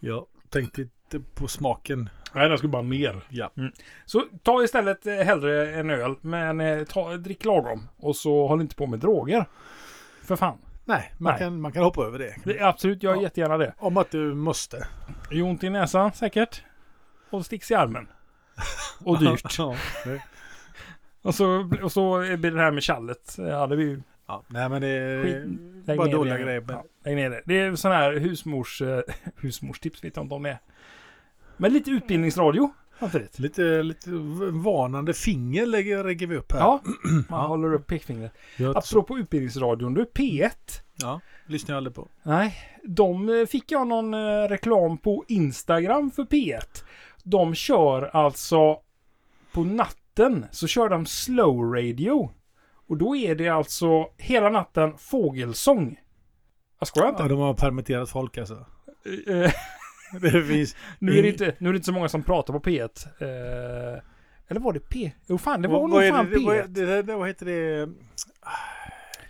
Jag tänkte inte på smaken.
Nej, den skulle bara ner.
Ja.
Mm. Så ta istället eh, hellre en öl, men eh, ta, drick lagom. Och så håll inte på med droger. För fan.
Nej, man,
Nej.
Kan, man kan hoppa över det.
Det, absolut, jag gör
Ja.
jättegärna det.
Om att du måste.
Gör ont i näsan säkert. Och sticks i armen. Och dyrt.
Ja, nej.
Och så, och så blir det här med tjallet. Ja, det blir ju...
ja. Nej, men det är
Skit.
bara
ner
dåliga
det.
grejer. Men...
Ja, lägg ner det. Det är sån här husmors... eh, Husmorstips vet jag inte om det är. Men lite utbildningsradio samtidigt.
Lite, lite varnande finger lägger, lägger vi upp här.
Ja, man håller upp pekfingret.
Jag,
Apropå utbildningsradion, du P1.
ja. Lyssnar jag aldrig på.
Nej, de eh, fick jag någon eh, reklam på Instagram för P1. De kör alltså på natten så kör de slow radio. Och då är det alltså hela natten fågelsång. Jag skojar inte.
Ja, de har permitterat folk alltså.
Eh,
Det finns...
nu, är det inte, nu är det inte så många som pratar på P1. Eh, eller var det P? Jo fan, det var
Vad-
nog
vad är
fan
det, vad, är-
P1.
det, det, det, vad heter det?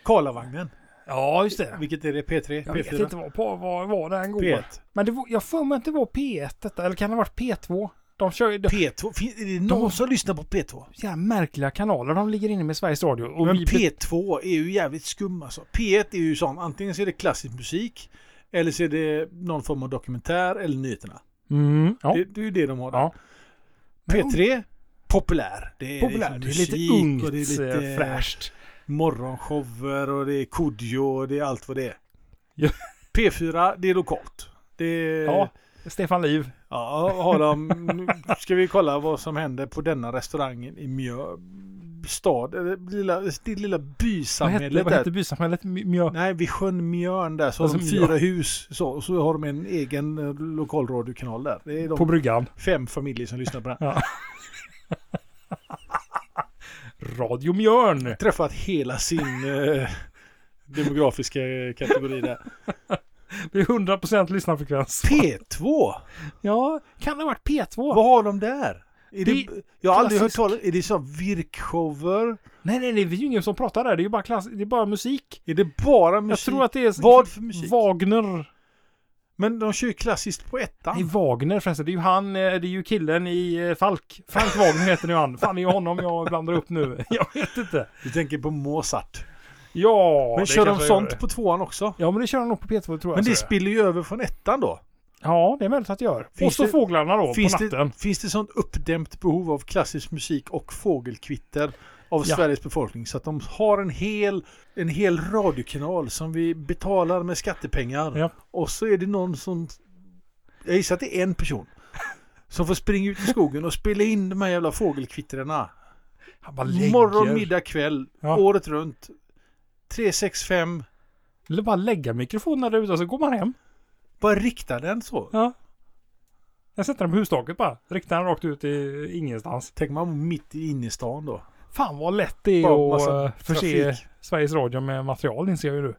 Karlavagnen.
Ja, just det.
Vilket är det? P3?
Jag vet
P4?
inte vad, på- vad, vad den går.
P1?
Men det var, jag får mig inte det var P1 detta. Eller kan det ha varit P2? De kör ju... de-
P2? Fin- Är det någon
De-
som lyssnar på P2?
jävla märkliga kanaler de ligger inne med Sveriges Radio. Och
Men
vi-
P2 är ju jävligt skum alltså. P1 är ju sån, antingen så är det klassisk musik Eller så är det någon form av dokumentär eller nyheterna.
Mm, ja.
Det, det är ju det de har där.
Ja.
P3, populär. Det är,
Populär.
liksom
Det är lite
musik
ungt,
och det är lite
eh, fräscht.
morgonshower och det är kodjo och det är allt vad det är.
Ja.
P4, det är lokalt. Det är,
Ja,
ja.
Stefan Liv.
har de, nu ska vi kolla vad som händer på denna restaurangen i Mjö stad, eller lilla, det lilla
Vad hette,
bysamhället
vad
där.
hette bysamhället? My- Mjö...
Nej, vid sjön Mjörn där så har
Alltså,
de fyra
Mjörn.
hus. Så, och så har de en egen eh, lokalradiokanal där. Det är de
På bryggan.
fem familjer som lyssnar på den.
Radio Mjörn.
Träffat hela sin eh, demografiska eh, kategori där.
Det är 100% lyssnarfrekvens.
P2!
Ja, kan det ha varit P2?
Vad har de där? Är det,
Det-
jag har aldrig hört
klassisk-
talas Är det så virkshower?
Nej, nej, nej, det är ju ingen som pratar där. Det är ju bara, klass... det är bara musik.
Är det bara
Jag
musik?
tror att det är...
Vad för musik?
Wagner.
Men de kör ju klassiskt på ettan.
Nej, Wagner förresten. Det är ju han, eh, det är ju killen i eh, Falk. Frank Wagner heter nu han. Fan, det är ju honom jag blandar upp nu. Jag vet inte.
Du tänker på Mozart.
Ja,
men
det
kör de
kanske jag gör.
sånt på tvåan också?
Ja, men det kör han nog på P2 tror jag.
Men det
så
spiller ju över från ettan då.
Ja, det är möjligt att det gör.
Finns
och så
det-
fåglarna då
Finns
på natten.
det, finns det sånt uppdämt behov av klassisk musik och fågelkvitter av
Ja.
Sveriges befolkning så att de har en hel, en hel radiokanal som vi betalar med skattepengar
Ja.
och så är det någon som, jag gissar att det är en person, som får springa ut i skogen och spela in de här jävla fågelkvittrarna.
Han bara lägger.
Morgon, middag, kväll,
Ja.
året runt. 365,
Eller bara lägga mikrofonen där ute och så går man hem.
bara rikta den så.
Ja. Jag sätter den på hustaket bara. Riktar den rakt ut i ingenstans.
Tänker man mitt inne i stan då.
Fan vad lätt det
Bara
är att
massa
eh, förse
trafik.
Sveriges Radio med material inser jag ju nu.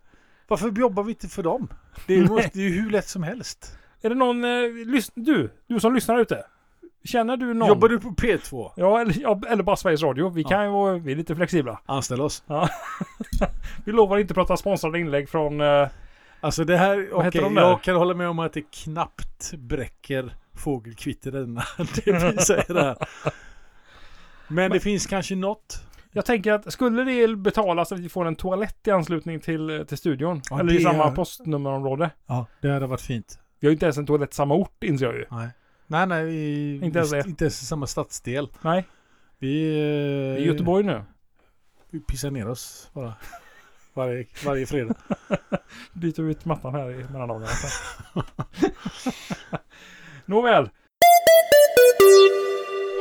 Varför jobbar vi inte för dem? Det är, måste, det är ju hur lätt som helst.
Är det någon, eh, lys- du, du som lyssnar ute. Känner du någon?
Jobbar du på P2?
Ja, eller, ja, eller bara Sveriges Radio. Vi kan ju vara, vi är lite flexibla.
Anställ oss.
Vi lovar inte att prata sponsrade inlägg från... eh,
Alltså det här,
Vad heter
okej,
de där?
jag kan hålla med om att det knappt bräcker fågelkvittren när det vi säger det här. Men det finns kanske något.
jag tänker att skulle det betalas att vi får en toalett i anslutning till, till studion?
Ja,
eller i
det
samma
är-
postnummerområde?
Ja, det hade varit fint.
Vi har ju inte ens en toalett i samma ort inser jag ju.
Nej, nej, nej vi,
Inte ens
vi-
det.
inte ens i samma stadsdel.
Nej,
Vi,
det
eh,
är Göteborg nu.
vi pissar ner oss bara. Varje, varje fredag.
Byter ut mattan här i mellan dagarna. Nåväl.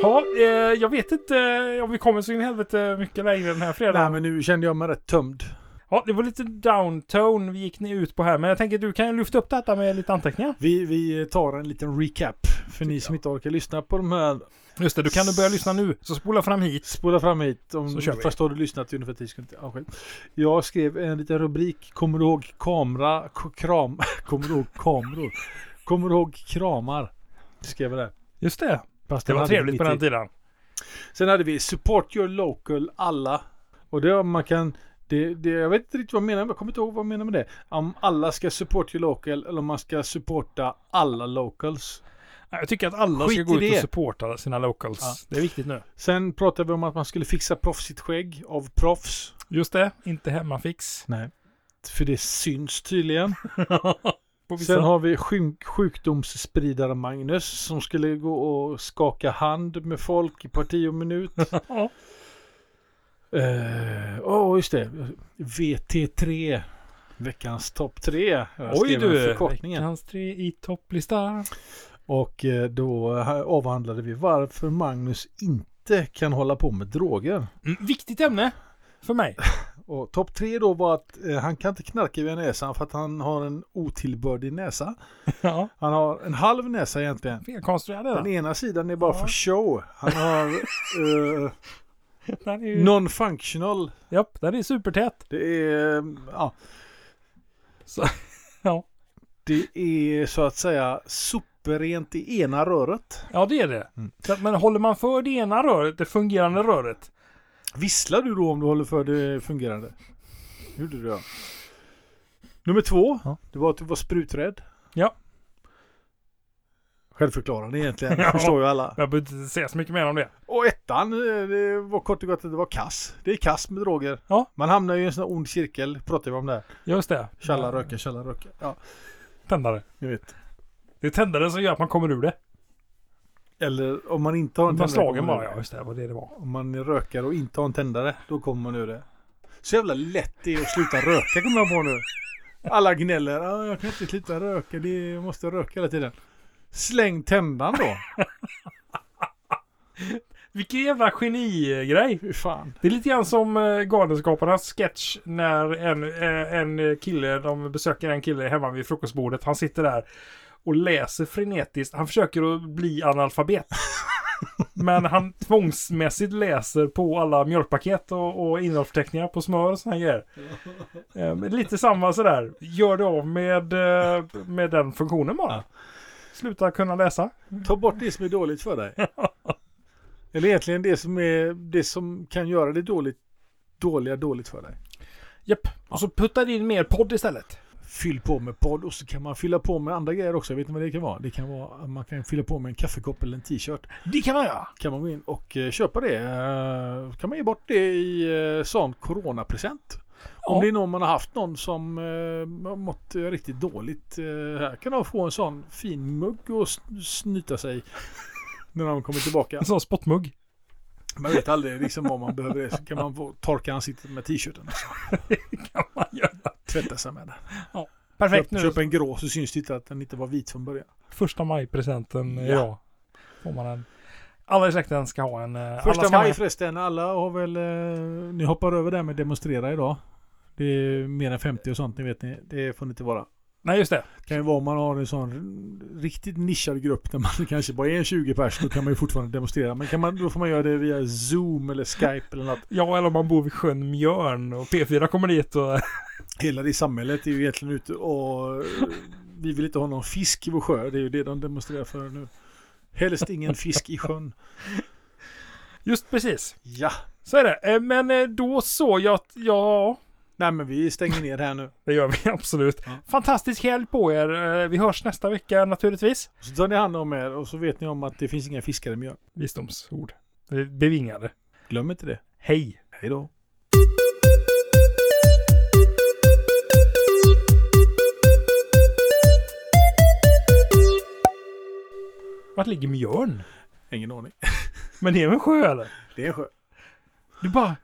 Ja, eh, jag vet inte eh, om vi kommer så in i helvete mycket längre den här fredagen.
Nej, men nu kände jag mig rätt tömd.
Ja, det var lite downtone vi gick ni ut på här, men jag tänker att du kan ju lyfta upp detta med lite anteckningar.
Vi, vi tar en liten recap. För ni som inte orkar lyssna på de här
Just det, du kan börja lyssna nu, så spola fram hit.
Spola fram hit. Om,
Så kör vi.
fast då har du lyssnat i ungefär 10 sekunder. Ja, själv. Jag skrev en liten rubrik. Kommer du ihåg kamera? K- Kram? Kommer du ihåg kameror? Kommer du ihåg kramar? Skrev jag där.
Just det.
Fast
Det
den
var
hade vi
trevligt på
mitt
den
i.
tiden.
Sen hade vi Support your local alla. Och det är- man kan... Det, det, jag vet inte riktigt vad jag menar, men jag kommer inte ihåg vad jag menar med det. Om alla ska support your local eller om man ska supporta alla locals.
Nej, Jag tycker att alla
Skit
ska
i
gå ut
det.
och supporta sina locals.
Ja.
Det är viktigt nu.
Sen pratade vi om att man skulle fixa proffsigt skägg av proffs.
Just det, inte hemmafix.
Nej. För det syns tydligen.
På vissa.
Sen har vi sjuk- sjukdomsspridare Magnus som skulle gå och skaka hand med folk i parti och minut.
Ja.
Eh, Åh, just det. VT3. Veckans topp tre. Jag
Oj
skrev den
du!
Förkortningen.
Veckans tre i topplista.
Och eh, då eh, avhandlade vi varför Magnus inte kan hålla på med droger.
Mm, viktigt ämne för mig.
Och topp tre då var att eh, han kan inte knarka via näsan för att han har en otillbördig näsa.
ja.
Han har en halv näsa egentligen.
Felkonstruerad är
Den
den.
ena sidan är bara
Ja.
för show. Han har eh,
Den är ju...
non-functional.
Japp, den är supertät.
Det är, eh, ja,
Ja.
det är så att säga superrent i ena röret.
ja, det är det.
Mm.
Så att, men håller man för det ena röret, det fungerande röret,
Visslar du då om du håller för det fungerande? Gjorde du ja. Nummer två,
Ja.
det var att du var spruträdd.
Ja.
Självförklarande egentligen,
Ja.
det förstår ju alla.
Jag behöver inte säga så mycket mer om det.
Och ettan, eh, det var kort och gott att det var kass. Det är kass med droger.
Ja.
Man hamnar ju i en sån här ond cirkel, pratade vi om där.
Just det.
Tjalla röka, tjalla röka. Ja.
Tändare.
Ni vet.
Det är tändare som gör att man kommer ur det.
Eller om man inte har en
Man
tändare.
slagen
kommer man
bara,
ur
ja just det, det var det det var.
det. Om man rökar och inte har en tändare, då kommer man ur det. Så jävla lätt det är att sluta röka kommer jag på nu. Alla gnäller. Ah, jag kan inte sluta röka. Det är, jag måste röka hela tiden. Släng tändaren då.
Vilken jävla genigrej!
Fy fan.
Det är lite grann som eh, Galenskaparnas sketch när en, eh, en kille, de besöker en kille hemma vid frukostbordet. Han sitter där och läser frenetiskt. Han försöker att bli analfabet. Men han tvångsmässigt läser på alla mjölkpaket och, och innehållsförteckningar på smör och såna här grejer. Eh, men lite samma sådär. Gör det av med, eh, med den funktionen bara.
Ja.
Sluta kunna läsa.
Ta bort det som är dåligt för dig. Eller egentligen det som, är, det som kan göra det dåligt, dåliga dåligt för dig.
Japp. Och så putta in mer podd istället.
Fyll på med podd och så kan man fylla på med andra grejer också. Vet ni vad det kan vara? Det kan vara att man kan fylla på med en kaffekopp eller en t-shirt.
Det kan man göra.
Kan man gå in och eh, köpa det. eh, Kan man ge bort det i eh, sån coronapresent.
Ja.
Om det är någon man har haft någon som eh, har mått eh, riktigt dåligt. eh, Här kan de få en sån fin mugg och sn- snyta sig. När de kommer tillbaka.
En sån spottmugg.
Man vet aldrig liksom om man behöver det. Så kan man få torka ansiktet med t-shirten.
kan man göra.
Tvätta sig med den.
Perfekt
Köp,
nu.
köp en grå så syns det inte att den inte var vit från början.
Första maj-presenten
Ja.
idag. Får man en. Alla i släkten ska ha en. eh, alla
Första
ska
maj
med.
förresten. Alla har väl... Eh, ni hoppar över det här med demonstrera idag. Det är mer än 50 och sånt, ni vet ni. Det får ni inte vara.
Nej just det.
kan ju vara om man har en sån riktigt nischad grupp där man kanske bara är en 20 pers. Då kan man ju fortfarande demonstrera. Men kan man, då får man göra det via Zoom eller Skype eller något.
Ja eller om man bor vid sjön Mjörn och P4 kommer dit och
Hela det samhället är ju egentligen ute och eh, vi vill inte ha någon fisk i vår sjö. Det är ju det de demonstrerar för nu. Helst ingen fisk i sjön.
just precis.
Ja.
Så är det. Eh, Men eh, då så. Jag, ja
Nej men vi stänger ner här nu.
det gör vi absolut.
Ja.
Fantastisk helg på er. Eh, Vi hörs nästa vecka naturligtvis.
Så tar ni hand om er och så vet ni om att det finns inga fiskare i mjölk.
Visdomsord. Eh, Bevingade.
Glöm inte det.
Hej.
Hej då.
Vart ligger Mjörn?
Ingen aning.
Men det är väl en sjö eller?
Det är en sjö.
Du bara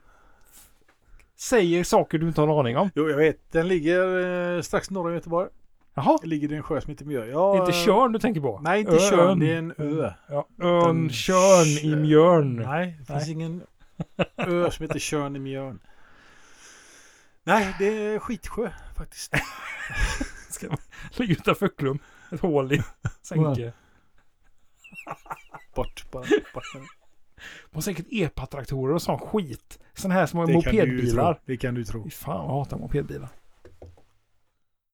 säger saker du inte har en aning om.
Jo jag vet. Den ligger eh, strax norr om Göteborg.
Jaha.
Ligger det en sjö som heter Mjöl.
Det
Ja,
är inte
eh,
Körn du tänker på?
Nej, inte Tjörn. Det är en ö.
Ja,
Den-
ön Körn i Mjörn.
Nej, det finns
Mm. Nej.
ingen ö som heter Tjörn i Mjörn. Nej, det är skitsjö faktiskt.
Ska man lägga ut en fucklum? Ett hål i sänke.
Bort bara. Bort. med den.
De har säkert epatraktorer och sån skit. Sån här små
Det kan du ju tro.
mopedbilar.
Det kan du tro.
Fy fan, jag hatar mopedbilar.